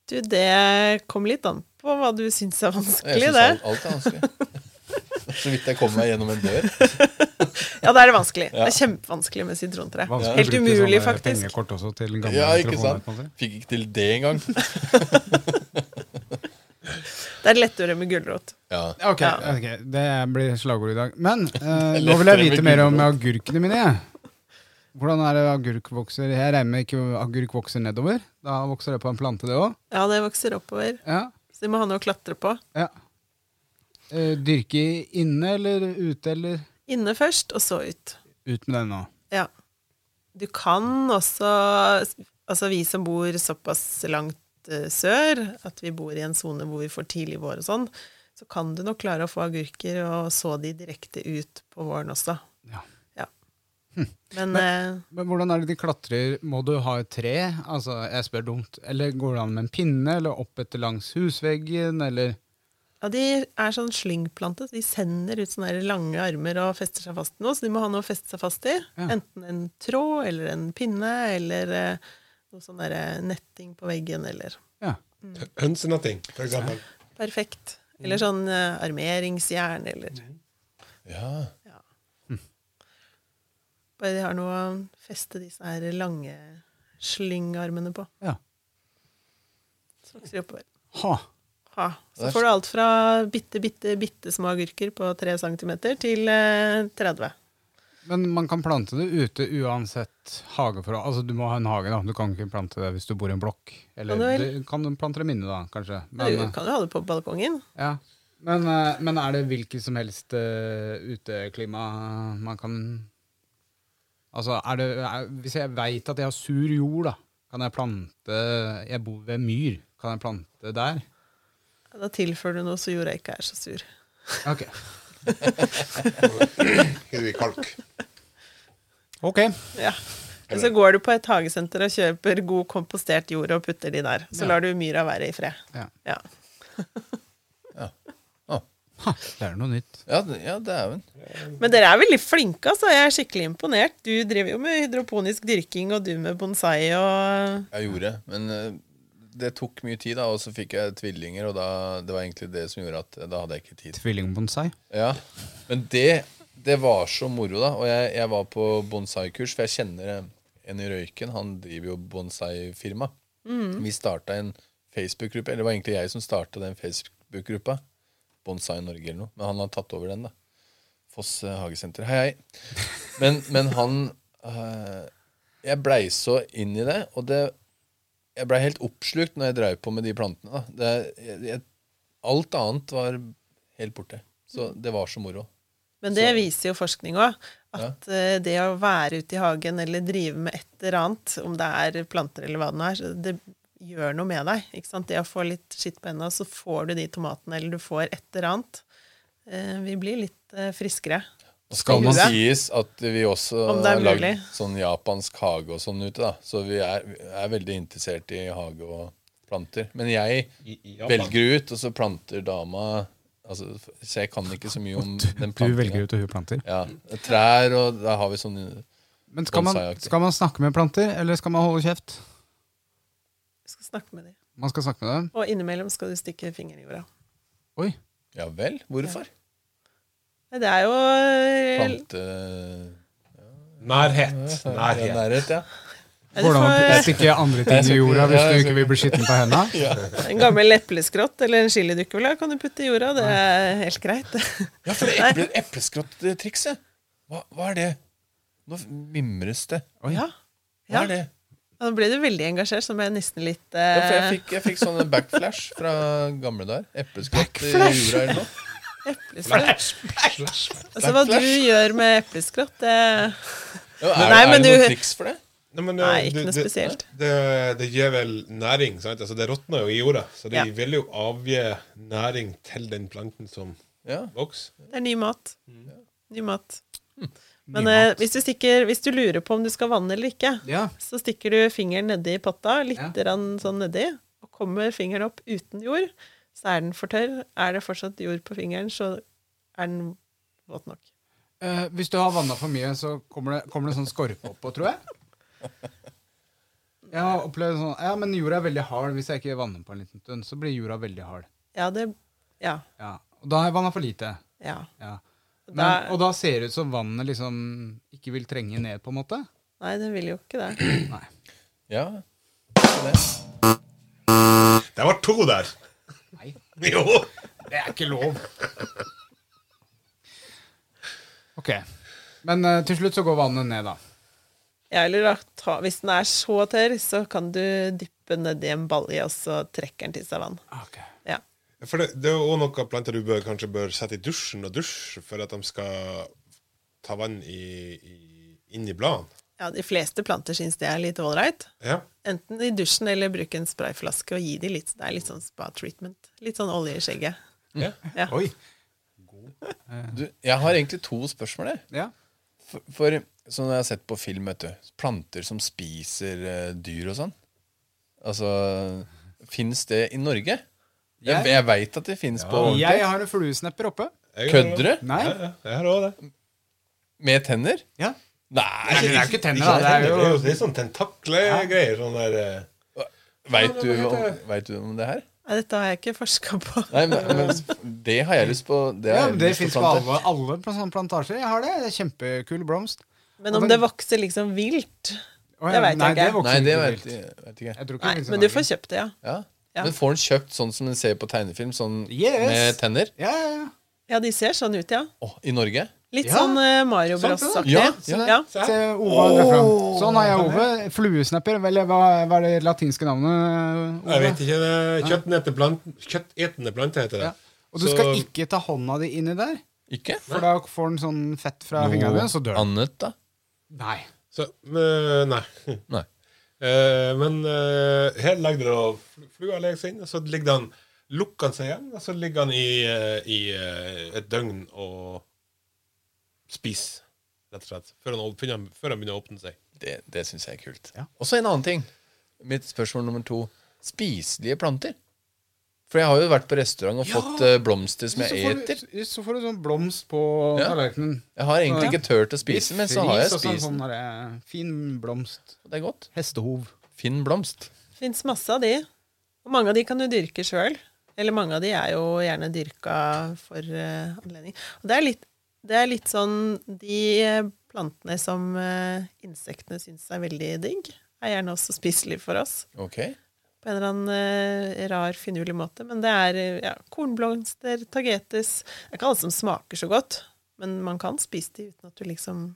Du, det kom litt an på hva du syns er
Jeg
vanskelig,
syns
det.
alt, alt er vanskelig. Så vidt jeg kom meg gjennom en dør.
Ja, da er det vanskelig. Det er kjempevanskelig med sitrontre.
Vanskelig å
Helt
bruke
umulig,
sånne
faktisk.
Pengekort også til gamle
Ja, ikke
mikrofoner,
sant?
på en måte.
Fikk ikke til det engang.
Det er lettere med gulrot.
Ja.
Ok,
Ja.
ok, det blir slagordet i dag. Men eh,
Eller
nå vil jeg
strøm i
vite mer om
gulrot.
agurkene mine. jeg. Hvordan er det agurk vokser? Jeg regner med ikke agurk vokser nedover. Da vokser det på en plante, det òg.
Ja, det vokser oppover.
Ja.
Så de må ha noe å klatre på.
ja. Eh, dyrke inne eller ute eller
Inne først, og så ut.
Ut med den nå.
Ja. Du kan også Altså, vi som bor såpass langt eh, sør at vi bor i en sone hvor vi får tidlig vår og sånn, så kan du nok klare å få agurker og så de direkte ut på våren også.
Ja.
Ja. Men, eh,
Men hvordan er det de klatrer? Må du ha et tre? Altså, jeg spør dumt. Eller går det an med en pinne, eller opp etter langs husveggen, eller
ja, de er sånn slyngplante. så De sender ut sånne her lange armer og fester seg fast til noe, så de må ha noe å feste seg fast i.
Ja.
Enten en tråd eller en pinne eller eh, noe sånn der eh, netting på veggen eller
Ja.
Mm. Hønsenatting, for eksempel.
Perfekt. Eller sånn eh, armeringsjern, eller
ja.
Bare de har noe å feste disse her lange slyngarmene på.
ja.
Så vokser de oppover.
Ha.
Ha. Så
Der-
får du alt fra bitte, bitte, bitte små agurker på 3 cm til eh, 30.
Men man kan plante det ute uansett hageforhold. Altså, du må ha en hage, da. Du kan ikke plante det hvis du bor i en blokk. Eller
Kan
kan
du
du,
vel?
kan du plante dem inne, da, kanskje.
Men, du
Men,
kan jo ha det på balkongen.
eh, ja. men, eh, men er det hvilket som helst eh, uteklima man kan Altså, er det er, Hvis jeg veit at jeg har sur jord, da, kan jeg plante Jeg bor ved myr. Kan jeg plante der?
Da tilfører du noe så jorda ikke er så sur.
Ok.
Hiver i kalk.
Ok.
Ja. Og så går du på et hagesenter og kjøper god kompostert jord og putter de der. Så lar du myra være i fred.
Ja.
Ja.
Ah.
Ha, det er noe nytt.
Ja, det- ja, dæven.
Men dere er veldig flinke, altså. Jeg er skikkelig imponert. Du driver jo med hydroponisk dyrking, og du med bonsai og
Jeg gjorde. Men eh, det tok mye tid, da, og så fikk jeg tvillinger, og da, det var egentlig det som gjorde at eh, da hadde jeg ikke tid.
Tvillingbonsai.
Ja, Men det, det var så moro, da. Og jeg, jeg var på bonsai-kurs, for jeg kjenner en i Røyken. Han driver jo bonsai-firma. Vi starta en Facebook-gruppe, eller det var egentlig jeg som starta den Facebook-gruppa. Bonsai Norge eller noe. Men han har tatt over den, da. Foss eh, hagesenter. Hei, hei. Men, men han eh, Jeg blei så inn i det, og det Jeg blei helt oppslukt når jeg dreiv på med de plantene. da. Det, jeg, jeg, alt annet var helt borte. Så
Mm.
det var så moro.
Men det viser jo forskning òg. At eh, det å være ute i hagen eller drive med et eller annet, om det er planter eller hva det nå er, så det gjør noe med deg. Ikke sant? Det å få litt skitt på hendene, så får du de tomatene, eller du får et eller annet. Eh, Vi blir litt eh, friskere.
Og skal det
man-
sies at vi også
Om det er
har lagd
mulig.
sånn japansk hage og sånn ute, da. Så vi er, vi er veldig interessert i hage og planter. Men jeg velger ut, og så planter dama altså, Så jeg kan ikke så mye om den
Du velger ut og hun planter.
Ja, Trær, og da har vi sånn
Men skal man,
Bonsai-aktig.
skal man snakke med planter, eller skal man holde kjeft?
Du skal snakke med dem.
Man skal snakke med dem.
Og innimellom skal du stikke fingeren i jorda.
Oi.
Ja vel? Hvorfor?
Nei, Det er jo eh,
Plante...
Nærhet.
Ja,
Nærhet.
nærhet, ja.
ja, du
Går det an å
får-
stikke andre ting i jorda hvis du ikke vil bli skitten på henda?
En gammel epleskrott eller en chilidukkula kan du putte i jorda. Det er helt greit.
Ja, for det eple, epleskrott-trikset. Hva, hva er det? Nå mimres det.
Ja.
Hva er det?
Og da ble du veldig engasjert, så ble jeg nesten litt
Ja, for jeg
eh,
fikk, jeg fikk sånn backflash fra gamle dager. Epleskrott i jula eller noe.
epleskrott. sånn. Altså hva du gjør med epleskrott, det
Ja, er,
Nei, men
er det noen
du-
triks for det?
Nei, men,
Nei,
eh,
ikke noe spesielt.
Det, det, det gir vel næring. Sant? Altså, det råtner jo i jorda, så det
Ja.
vil jo avgi næring til den planten som
Ja.
vokser.
det er ny mat.
Mm.
Ny mat.
Hm.
Men eh, hvis, du stikker, hvis du lurer på om du skal vanne eller ikke,
Ja.
så stikker du fingeren nedi potta, litt
Ja.
grann sånn nedi, og kommer fingeren opp uten jord, så er den for tørr. Er det fortsatt jord på fingeren, så er den våt nok.
Eh, hvis du har vanna for mye, så kommer det, kommer det sånn skorpe oppå, tror jeg. Jeg har opplevd sånn Ja, men jorda er veldig hard. Hvis jeg ikke vanner på en liten stund, så blir jorda veldig hard.
Ja, det Ja.
Ja. Og da har jeg vanna for lite.
ja.
Ja. Men,
Da-
og da ser det ut som vannet liksom ikke vil trenge ned, på en måte.
Nei, den vil jo ikke det.
Nei.
ja.
Det var to der!
Nei.
Jo!
Det er ikke lov. Ok. Men eh, til slutt så går vannet ned, da.
Ja, eller da, ta, hvis den er så tørr, så kan du dyppe nedi en balje, og så trekker den til seg vann. Ja.
For det, det er jo også noe planter du bør, kanskje bør sette i dusjen og dusje for at de skal ta vann i, i, inn i bladene.
ja, de fleste planter syns det er litt ålreit.
Ja.
Enten i dusjen eller bruke en sprayflaske og gi de litt. Det er litt sånn spa-treatment. Litt sånn olje i skjegget.
Mm.
Ja.
Ja.
Oi.
Du, jeg har egentlig to spørsmål. Jeg.
Ja.
For, for sånn jeg har sett på film, vet du Planter som spiser eh, dyr og sånn. Altså Fins det i Norge? Jeg, jeg veit at det fins på
Jeg
ordentlig.
har en fluesnepper oppe.
Jeg-
Kødder du?
Nei.
Ja, ja, Jeg har òg det.
Med tenner?
Ja.
Nei!
Nei, men det er jo ikke tenner, da. Det er jo
det er sånn tentaklegreier. Sånn der eh.
Veit du, om- vet du om det her?
Nei, dette har jeg ikke forska på.
Nei, men, men det har jeg lyst på. Det,
Ja,
har
men
jeg
Det
lyst
fins på
planter.
alle, alle pla- sånne plantasjer. Jeg har det. det er Kjempekul blomst.
Men om det vokser liksom vilt
Å,
Det
ja,
vet jeg
nei,
ikke.
vokser
Nei, det
ikke
vet
vilt.
jeg vet ikke.
Jeg tror ikke liksom det
Nei,
finnes i
men du
Norge.
får kjøpt det, ja.
Ja.
Ja.
Men får den kjøpt sånn som den ser på tegnefilm, sånn
Yes.
med tenner?
Ja, ja, ja.
Ja, de ser sånn ut, ja.
Åh, I Norge?
Litt
Ja.
sånn eh, Mario
Sant det, da?
Bros-aktig.
Ja,
Se der.
ja.
Se, Ove har det fram. Sånn har jeg Ove. Fluesnepper. Vel, hva, hva er det latinske navnet? Ove?
Jeg vet ikke. det er Kjøttetende plante, kjøttetende plante heter det.
Ja. Og du
Så-
skal ikke ta hånda di inni der,
Ikke?
for da får den sånn fett fra fingrene dine, så dør den.
annet, da?
Nei.
Så, men, nei.
Nei.
Eh, men eh, her legger det da- fl- flua legger seg inn, og så ligger den, lukker den seg igjen, og så ligger den i, eh, i eh, et døgn og spiser, rett og slett, før den, åp- finner- før den begynner å åpne seg.
Det, det syns jeg er kult.
Ja.
Og så en annen ting. Mitt spørsmål nummer to. Spiselige planter? For jeg har jo vært på restaurant og fått eh, blomster som
Så
jeg
får,
eter.
du, så får du sånn blomst på
Ja.
tallerkenen.
Jeg har egentlig
Ja.
ikke turt å spise, men så har jeg
Fris og
spist.
Sånn, sånn derre fin blomst.
Det er godt.
Hestehov.
Finn blomst.
Fins masse av de. Og mange av de kan du dyrke sjøl. Eller mange av de er jo gjerne dyrka for eh, anledning. Og det er litt, det er litt sånn De eh, plantene som eh, insektene syns er veldig digg, er gjerne også spiselige for oss.
Ok.
På en eller annen eh, rar, finurlig måte. Men det er eh, ja, kornblomster, tagetes Det er ikke alle som smaker så godt, men man kan spise de uten at du liksom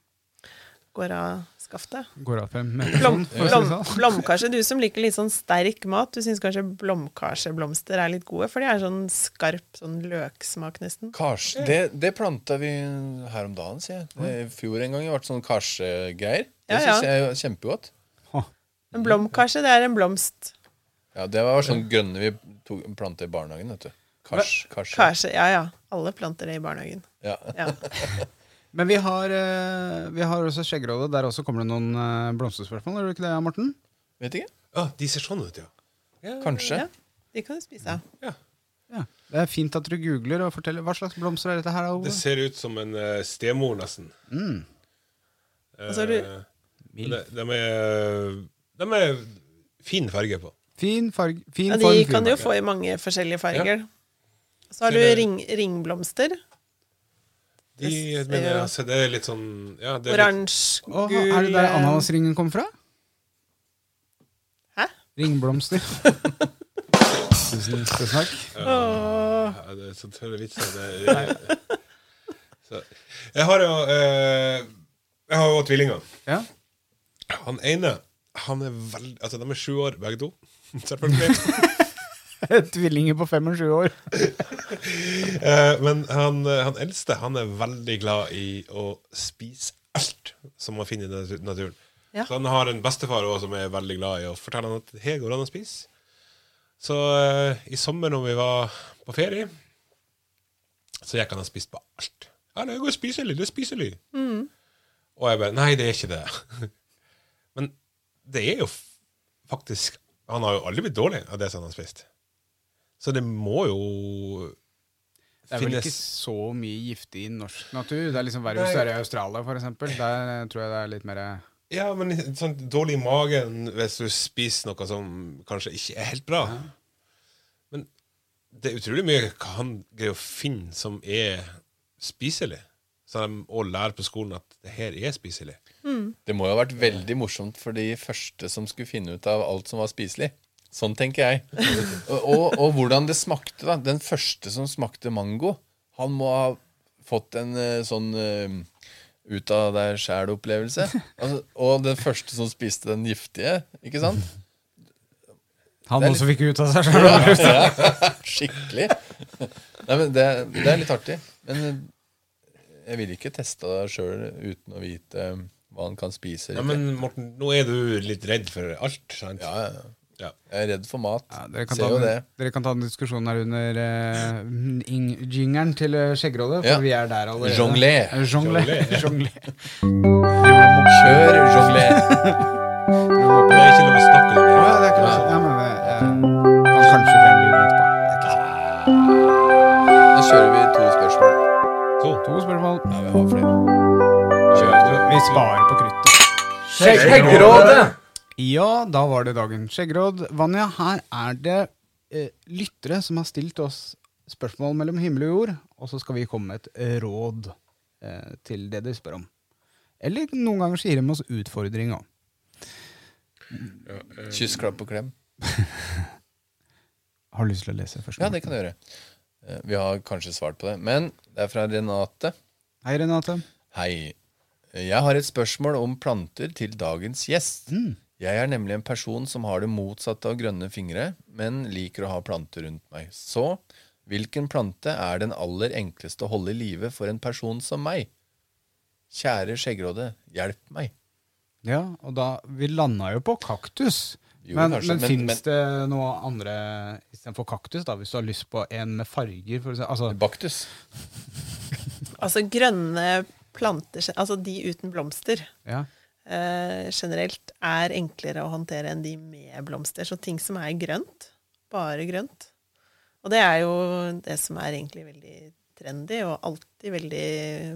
går av skaftet.
Går av fem
Blom,
for å si det
blom,
sånn.
blomkarse, du som liker litt sånn sterk mat, du syns kanskje blomkarseblomster er litt gode, for de er sånn skarp sånn løksmak nesten.
Kars. Det, det planta vi her om dagen, sier jeg. Det- I fjor en gang har det vært sånn karsegreier. Det
Ja, ja.
syns jeg er kjempegodt.
Men blomkarse, det er en blomst.
Ja, Det var sånn grønne vi tok, planta i barnehagen. vet du Kars, kars.
Karse, ja ja. Alle planter det i barnehagen.
Ja.
Ja.
Men vi har, eh, vi har også skjeggerådet. Der også kommer det noen eh, blomsterspørsmål. Gjør du ikke det, Morten?
Vet ikke.
Ja, de ser sånn ut, ja.
Kanskje.
Ja, de kan du spise.
Ja. Det er fint at du googler og forteller. Hva slags blomster er dette her, da,
Det
Ove?
ser ut som en eh, stemor, nesten. Mm. Eh,
Og så har du-
men de, de, er, de er fin farge på.
Fin farg... Fin
Ja,
form,
de
fin
kan du jo
farge.
få i mange forskjellige farger. Så
Så
har du
det-
ring, ringblomster.
De,
Det ser
men,
jo-
altså, det er litt sånn ja, det er litt,
Oransje,
Åh,
gul
er det der
eh,
ananasringen kommer fra?
Hæ?
Ringblomster. Tusen tusen takk.
Ja, det er sånn så tørre vitser. Det er, så. Jeg har jo eh, Jeg har jo tvillinger.
Ja.
Han ene Han er veldig Altså, de er sju år, begge to. Selvfølgelig.
Tvillinger på fem og sju år.
Eh, Men han, eh, han eldste han er veldig glad i å spise alt som man finner i natu- naturen.
Ja.
Så han har en bestefar også, som er veldig glad i å fortelle han at her går det an å spise. Så eh, i sommer når vi var på ferie, så gikk han og spiste på alt. Ja, det er godt spiselig, det er spiselig. Og jeg bare, nei, det er ikke det. Men det er jo f- faktisk, han har jo aldri blitt dårlig av det som han har spist. Så det må jo
Det er vel
finnes-
ikke så mye giftig i norsk natur. Det er liksom verre hvis du er i Australia, for eksempel. Der eh, tror jeg det er litt mer
Ja, men litt sånn dårlig i magen hvis du spiser noe som kanskje ikke er helt bra. Men det er utrolig mye hva han greier å finne som er spiselig. Så de òg lærer på skolen at det her er spiselig.
Det må jo ha vært veldig morsomt for de første som skulle finne ut av alt som var spiselig. Sånn tenker jeg. Og, og, og hvordan det smakte, da. Den første som smakte mango, han må ha fått en eh, sånn eh, ut av deg sjæl-opplevelse. Altså, og den første som spiste den giftige, ikke sant?
Han
Det er
også fikk ut av seg sjøl.
Skikkelig. Nei, men det, det er litt artig. Men eh, jeg ville ikke testa det sjøl uten å vite eh, hva han kan spise. eller
Ja, men Morten, nå er du litt redd for alt, sant?
Ja, ja, ja.
Ja.
Jeg er redd for mat.
Ja, dere, kan ta
Ser jo det.
den, dere kan ta den diskusjonen her under eh, ing- jingeren til eh, Skjeggerådet, for
Ja.
vi er der allerede.
Jongler.
Eh, Jongler. Jongler.
Kjør jongler.
Det er ikke lov å snakke om
Ja, det er ikke noe- ja, men det, eh, kan kanskje fjerne lyden etterpå. Det er ikke sant.
Da kjører vi to spørsmål.
To spørsmål.
Nei, vi har flere.
Vi sparer på kruttet.
Skjeggerådet!
Ja, da var det dagen. Skjeggråd, Vanja, her er det eh, lyttere som har stilt oss spørsmål mellom himmel og jord, og så skal vi komme med et eh, råd eh, til det de spør om. Eller noen ganger så gir de oss utfordringer.
Kyss, klapp og klem.
Har du lyst til å lese først?
Ja, det kan du gjøre. Eh, Vi har kanskje svart på det. Men det er fra Renate.
Hei, Renate.
Hei. Jeg har et spørsmål om planter til dagens gjest. Jeg er nemlig en person som har det motsatte av grønne fingre, men liker å ha planter rundt meg. Så hvilken plante er den aller enkleste å holde i live for en person som meg? Kjære skjeggråde, hjelp meg.
Ja, og da, vi landa jo på kaktus.
Jo,
men
kanskje,
men,
men-
fins
men-
det noe andre istedenfor kaktus, da, hvis du har lyst på en med farger? For å si, altså,
Baktus.
Altså grønne planter, altså de uten blomster,
ja.
eh, generelt er enklere å håndtere enn de med blomster. Så ting som er grønt, bare grønt. Og det er jo det som er egentlig veldig trendy, og alltid veldig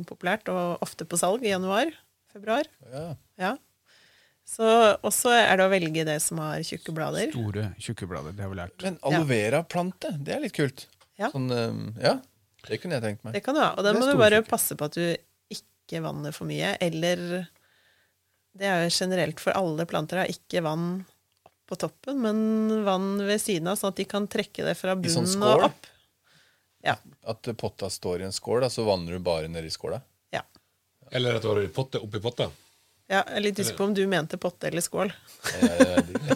populært, og ofte på salg i januar, februar.
Ja.
Ja. Så også er det å velge det som har tjukke blader.
Store, tjukke blader. Det har vi lært.
Men aloe vera-plante, det er litt kult.
Ja.
Sånn, eh, ja, det kunne jeg tenkt meg.
Det kan du ha. Og da
Det er
må du
stor
bare
usikkerhet.
passe på at du ikke vanner for mye, eller Det er jo generelt for alle planter, da. Ikke vann på toppen, men vann ved siden av, sånn at de kan trekke det fra
I sånn
bunnen
skål?
og opp. Ja.
At potta står i en skål, da, så vanner du bare nedi skåla.
ja.
Eller at du har potte oppi potta.
ja jeg er litt usikker på om du mente potte eller skål.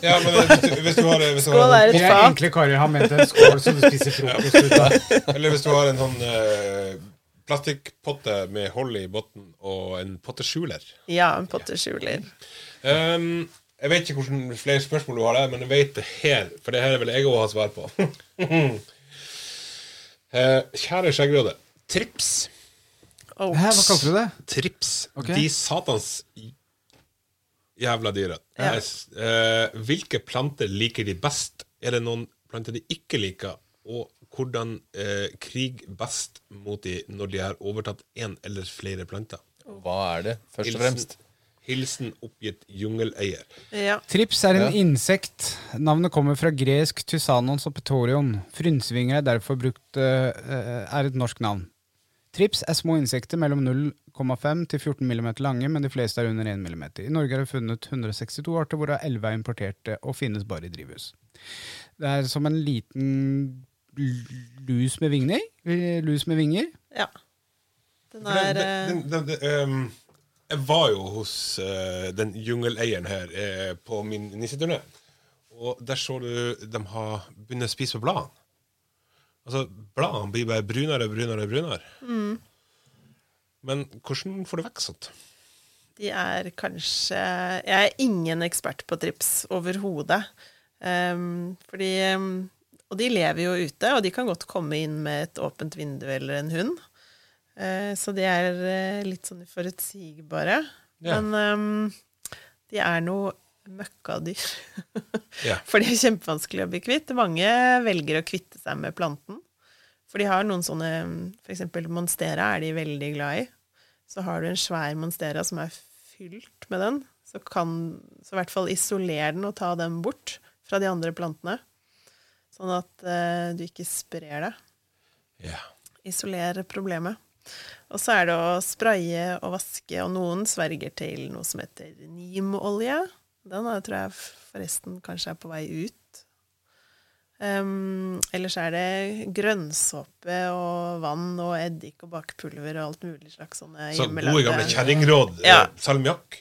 Ja, men hvis du, hvis du har, hvis du
Skål
har
er
Vi
et
er
fat.
enkle karer har ment en skål som du spiser frokost ut av.
Eller hvis du har en sånn eh, plastikkpotte med hold i bunnen og en potteskjuler.
Ja, en potteskjuler.
Ehm, jeg vet ikke hvordan flere spørsmål du har der, men jeg vet det her. For det her vil jeg òg ha svar på. Eh, kjære skjeggrøde. Trips.
Oh.
Hæ, hva kalte du det?
Trips.
Ok.
De satans j- jævla dyra.
Ja.
Jeg s- eh, hvilke planter liker de best? Er det noen planter de ikke liker? Og hvordan eh, krig best mot de når de har overtatt én eller flere planter?
Oh.
Hva er det, først og
Hilsen-
fremst?
Hilsen oppgitt jungeleier.
Ja.
Trips er en
Ja.
insekt. Navnet kommer fra gresk tysanons og petorion. Frynsvinger er derfor brukt eh, eh, er et norsk navn. Trips er små insekter mellom 0,5 til 14 mm lange, men de fleste er under 1 mm. I Norge er det funnet 162 arter, hvorav 11 er importerte og finnes bare i drivhus. Det er som en liten l- lus med vinger. eh, Lus med vinger.
ja. Den
For
er
det- det-
eh,
det- det- det, ehm, Jeg var jo hos eh, den jungeleieren her eh, på min nisseturné. Og der så du de har begynt å spise på bladene. Altså, bladene blir bare brunere og brunere og brunere.
Mm.
Men hvordan får du vekk sånt?
De er kanskje Jeg er ingen ekspert på trips overhodet. Ehm, fordi ehm, Og de lever jo ute, og de kan godt komme inn med et åpent vindu eller en hund. Eh, så de er eh, litt sånn uforutsigbare.
Ja.
Men ehm, de er noe møkkadyr.
Ja.
For de er kjempevanskelig å bli kvitt. Mange velger å kvitte seg med planten. For de har noen sånne For eksempel monstera er de veldig glad i. Så har du en svær monstera som er fylt med den, så kan så i hvert fall isoler den og ta den bort fra de andre plantene. Sånn at eh, du ikke sprer det.
Ja.
Isoler problemet. Og så er det å spraye og vaske, og noen sverger til noe som heter nimolje. Den er, tror jeg forresten kanskje er på vei ut. Um, ellers er det grønnsåpe og vann og eddik og bakepulver og alt mulig slags sånne
Så Sånn gode
hjemmelagde-
gamle kjerringråd. eh,
Ja.
Salmiakk.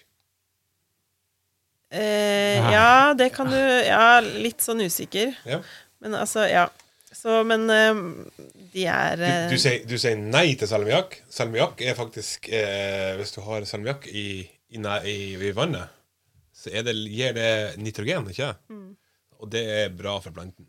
Eh, ja, det kan du Ja, litt sånn usikker.
Ja.
Men altså, ja. Så, men eh, de er
Du,
eh,
du, sier, du sier nei til salmiakk. Salmiakk er faktisk eh, Hvis du har salmiakk i, i, næ- i, i vannet, så er det, gir det nitrogen, ikke sant?
Mm.
Og det er bra for planten.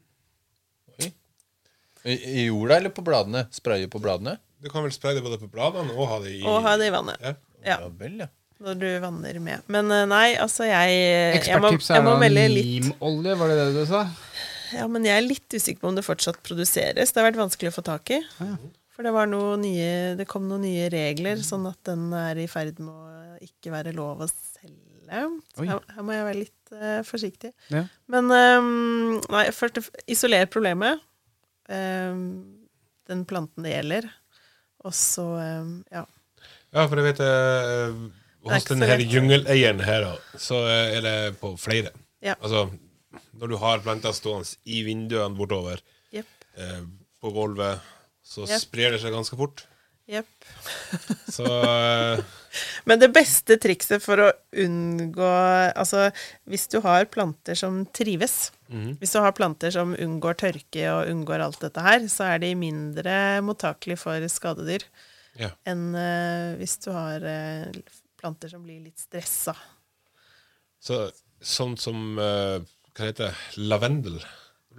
I, I jorda eller på bladene? Spraye på bladene?
Du kan vel spraye det både på bladene og ha det i
Og ha det i vannet.
Ja.
Ja.
vel, ja.
Når du vanner med. Men eh, nei, altså jeg jeg må,
Eksperttips
jeg
er
må
da
melde litt
limolje, var det det du sa?
Ja, men jeg er litt usikker på om det fortsatt produseres. Det har vært vanskelig å få tak i.
Ah,
For det, var noe nye, det kom noen nye regler, sånn at den er i ferd med å ikke være lov å selge. Så
Oi.
her, her må jeg være litt eh, forsiktig.
Ja.
Men um, nei, først og f- isoler problemet. Um, den planten det gjelder. Og så um, ja.
Ja, for jeg vet eh,
er
Hos
ikke så
denne
lett.
jungeleieren her, da, så eh, er det på flere.
Ja.
Altså, når du har planter stående i vinduene bortover,
Jepp.
eh, på gulvet, så
Ja.
sprer det seg ganske fort.
Jepp.
Så eh,
Men det beste trikset for å unngå Altså, hvis du har planter som trives Hvis du har planter som unngår tørke og unngår alt dette her, så er de mindre mottakelige for skadedyr
Ja.
enn eh, hvis du har eh, planter som blir litt stressa.
Så, sånn som eh, Hva heter det? Lavendel.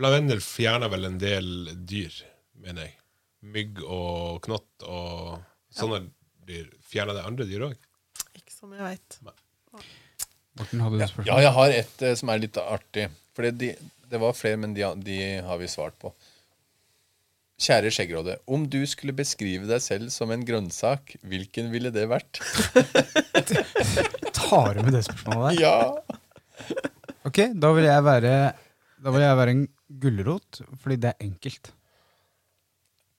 Lavendel fjerner vel en del dyr, mener jeg. Mygg og knott og sånne dyr. Fjerner det andre dyr òg?
Ikke som jeg veit.
Morten hadde du et spørsmål.
Ja, jeg har et eh, som er litt artig. For det- de, det var flere, men de, de har vi svart på. Kjære Skjeggråde, om du skulle beskrive deg selv som en grønnsak, hvilken ville det vært?
Tar du med det spørsmålet der?
Ja!
Ok, da vil jeg være Da vil jeg være en gulrot, fordi det er enkelt.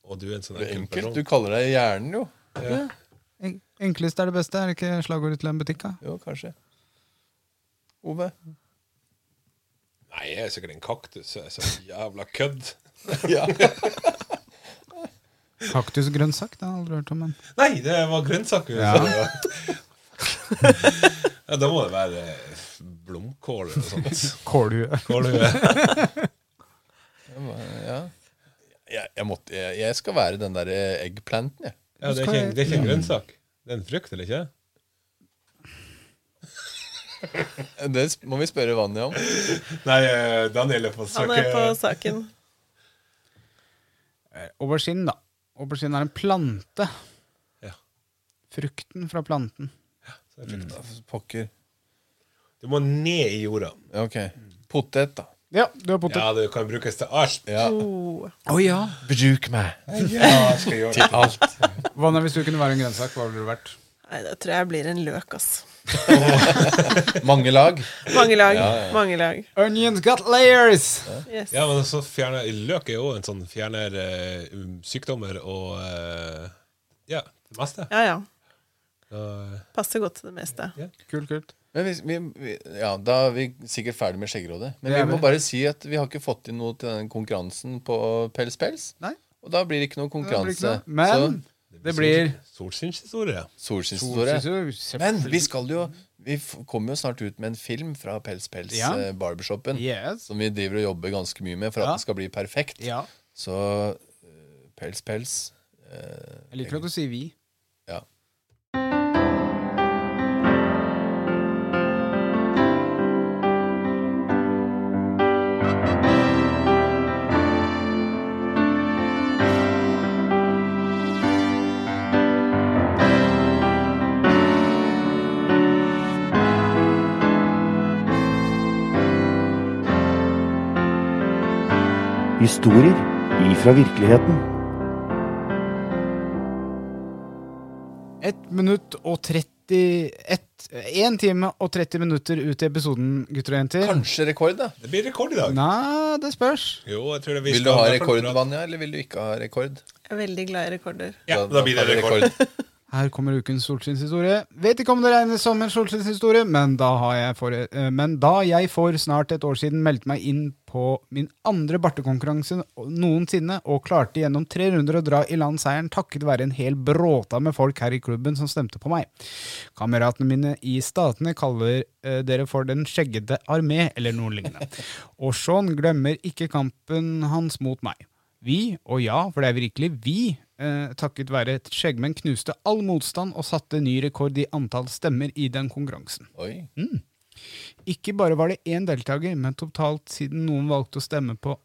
Og du er en sånn
Det er
enkel
enkelt.
person.
Du kaller deg hjernen, jo.
En- Enklest er det beste, er det ikke slagordet til en butikk? da?
Jo, kanskje. Ove?
Nei, jeg er sikkert en kaktus. Jeg er så jævla kødd.
Ja.
Kaktusgrønnsak, det har jeg aldri hørt om. Men.
Nei, det var grønnsaker. altså.
Ja.
Ja. ja, da må det være eh, blomkål eller noe sånt.
Kålhue.
Kålhue.
ja. Jeg, jeg, måtte, jeg, jeg skal være den der eh, eggplanten, jeg.
Ja, det er ikke, det er ikke en grønnsak. Det er en frukt, eller ikke?
Det sp- må vi spørre Vanja om.
Nei, eh, Daniel er på
Han
søke...
er på saken.
Aubergine, da. Aubergine er en plante.
Ja.
Frukten fra planten. Mm.
Pokker.
Du må ned i jorda.
Ja, Ok. Potet, da.
Ja, du har potet.
Ja, det kan brukes til alt.
Ja.
Oh.
Å ja.
Bruk meg.
Ja, jeg skal gjøre det.
Alt.
Vanne, hvis du kunne være en grønnsak, hva ville du vært?
Nei, da tror jeg jeg blir en løk, ass.
Mange lag.
Mange lag. Mange lag.
Onions got layers!
Yes.
Ja, men så fjerner Løk er jo en sånn fjerner eh, um, sykdommer og eh, Ja, det meste.
Ja ja.
Og,
Passer godt til det meste.
Kult, kult.
Men hvis vi, vi, ja, da er vi sikkert ferdig med Skjeggerådet. Men
Det er
vi må
vi.
bare si at vi har ikke fått inn noe til den konkurransen på Pels Pels.
Nei.
Og da blir det ikke noe
Det blir ikke
konkurranse.
noe. Men
Så
Det blir
Solskinnshistorie.
Solskinnshistorie.
Solskinnshistorie,
Men vi skal jo Vi f- kommer jo snart ut med en film fra Pels Pels
Ja.
eh, Barbershoppen.
Yes.
Som vi driver og jobber ganske mye med for at
Ja.
den skal bli perfekt.
Ja.
Så eh, Pels Pels eh,
Jeg liker at du sier vi.
Ja.
Historier ifra virkeligheten.
Ett minutt og 30 ett- En time og 30 minutter ut i episoden, gutter og jenter.
Kanskje rekord, da.
Det blir rekord i dag.
Nei, det spørs.
Jo, jeg tror det vi
Vil du
skal-
ha
i hvert fall
rekord,
bra.
Vanja, eller vil du ikke ha rekord?
Jeg er veldig glad i rekorder.
Ja, da blir det
tar vi
rekord.
Her kommer ukens solskinnshistorie. Vet ikke om det regnes som en solskinnshistorie, men, da har jeg for- eh, men da jeg for snart et år siden meldte meg inn på min andre bartekonkurranse noensinne, og klarte gjennom tre runder å dra i land seieren takket være en hel bråta med folk her i klubben som stemte på meg. Kameratene mine i Statene kaller eh, dere for Den skjeggete armé, eller noe lignende. Og Sean glemmer ikke kampen hans mot meg. Vi, og ja, for det er virkelig vi, eh, takket være et skjeggmenn, knuste all motstand og satte ny rekord i antall stemmer i den konkurransen.
Oi.
Ikke bare var det én deltaker, men totalt siden noen valgte å stemme på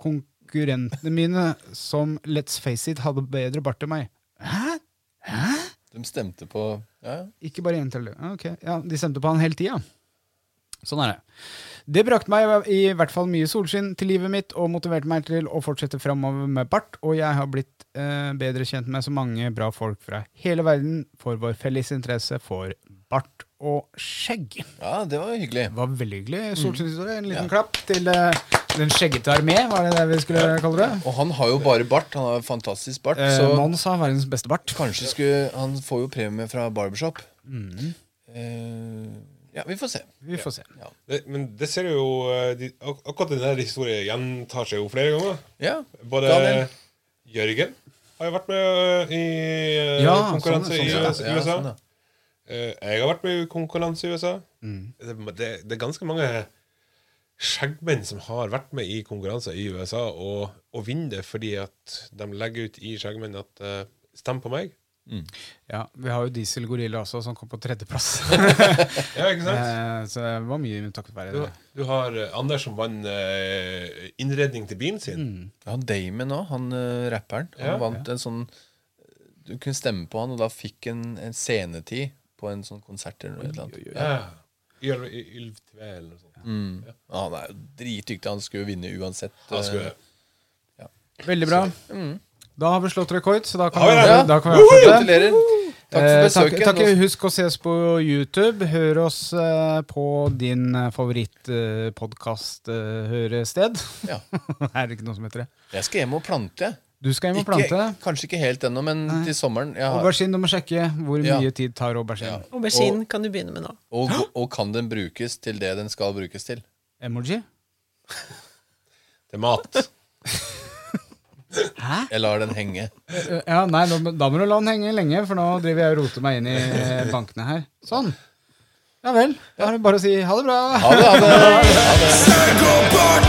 konkurrentene mine, som let's face it hadde bedre bart enn meg.
De stemte på ja.
Ikke bare én til. Ja, ok. Ja, de stemte på han hele tida. Sånn er det. Det brakte meg i hvert fall mye solskinn til livet mitt og motiverte meg til å fortsette framover med bart, og jeg har blitt eh, bedre kjent med så mange bra folk fra hele verden for vår felles interesse for bart og skjegg.
ja, det var hyggelig.
Det var veldig hyggelig. Solskinnshistorie. En liten klapp til eh, Den skjeggete armé, var det det vi skulle kalle det?
Og han har jo bare bart. Han har fantastisk bart.
Eh,
så
Mons har verdens beste bart.
kanskje skulle Han får jo premie fra Barbershop.
Mm.
Eh, ja, vi får se.
Vi får se.
Det, men det ser du jo eh, de, ak Akkurat den der historien gjentar seg jo flere ganger.
Ja,
Både
Daniel.
Jørgen har jo vært med eh, i eh,
Ja,
konkurranse
sånn,
i
sånn,
ja,
US- USA.
ja, sånn, ja.
Eh, Jeg har vært med i konkurranse i USA. Det, det, det er ganske mange skjeggmenn som har vært med i konkurranse i USA, og, og vinner det fordi at de legger ut i skjeggmenn at eh, Stem på meg.
Ja, vi har jo Diesel Gorilla også, som kom på tredjeplass.
Ja, ikke sant?
Eh, Så det var mye takket være
Du,
det.
du har eh, Anders som vant eh, innredning til bilen sin.
Han Damon òg, han eh, rapperen. Han
Ja.
vant en sånn Du kunne stemme på han, og da fikk han en scenetid på en sånn konsert eller noe. eller annet. Ja.
Ja. Yl- Ylftve eller noe sånt.
Ja, Han er jo dritdyktig. Han skulle jo vinne uansett.
Da skulle
eh,
jeg-
Veldig bra. Da har vi slått rekord, så da kan
Har vi
vi,
det?
da kan vi avslutte.
Gratulerer. Takk for
Eh, takk,
besøket. altså.
takk.
Nå-
Husk å ses på YouTube. Hør oss eh, på din eh, favorittpodkast-hørested.
Ja.
eh, er det ikke noe som heter det?
Jeg skal hjem og plante. jeg.
Du skal hjem og plante.
Ikke, kanskje ikke helt ennå, men til sommeren. Jeg har,
Aubergine, du må sjekke hvor
Ja.
mye tid tar aubergine.
Aubergine kan du begynne med nå.
og, og kan den brukes til det den skal brukes til?
Emoji?
Til mat.
Jeg lar den henge.
Eh, Ja, nei, nå, må- da må du la den henge lenge, for nå driver jeg og roter meg inn i eh, bankene her. Sånn. Ja vel. Da er det bare å si ha det bra.
Ha det, ha det.
Skjegg og bart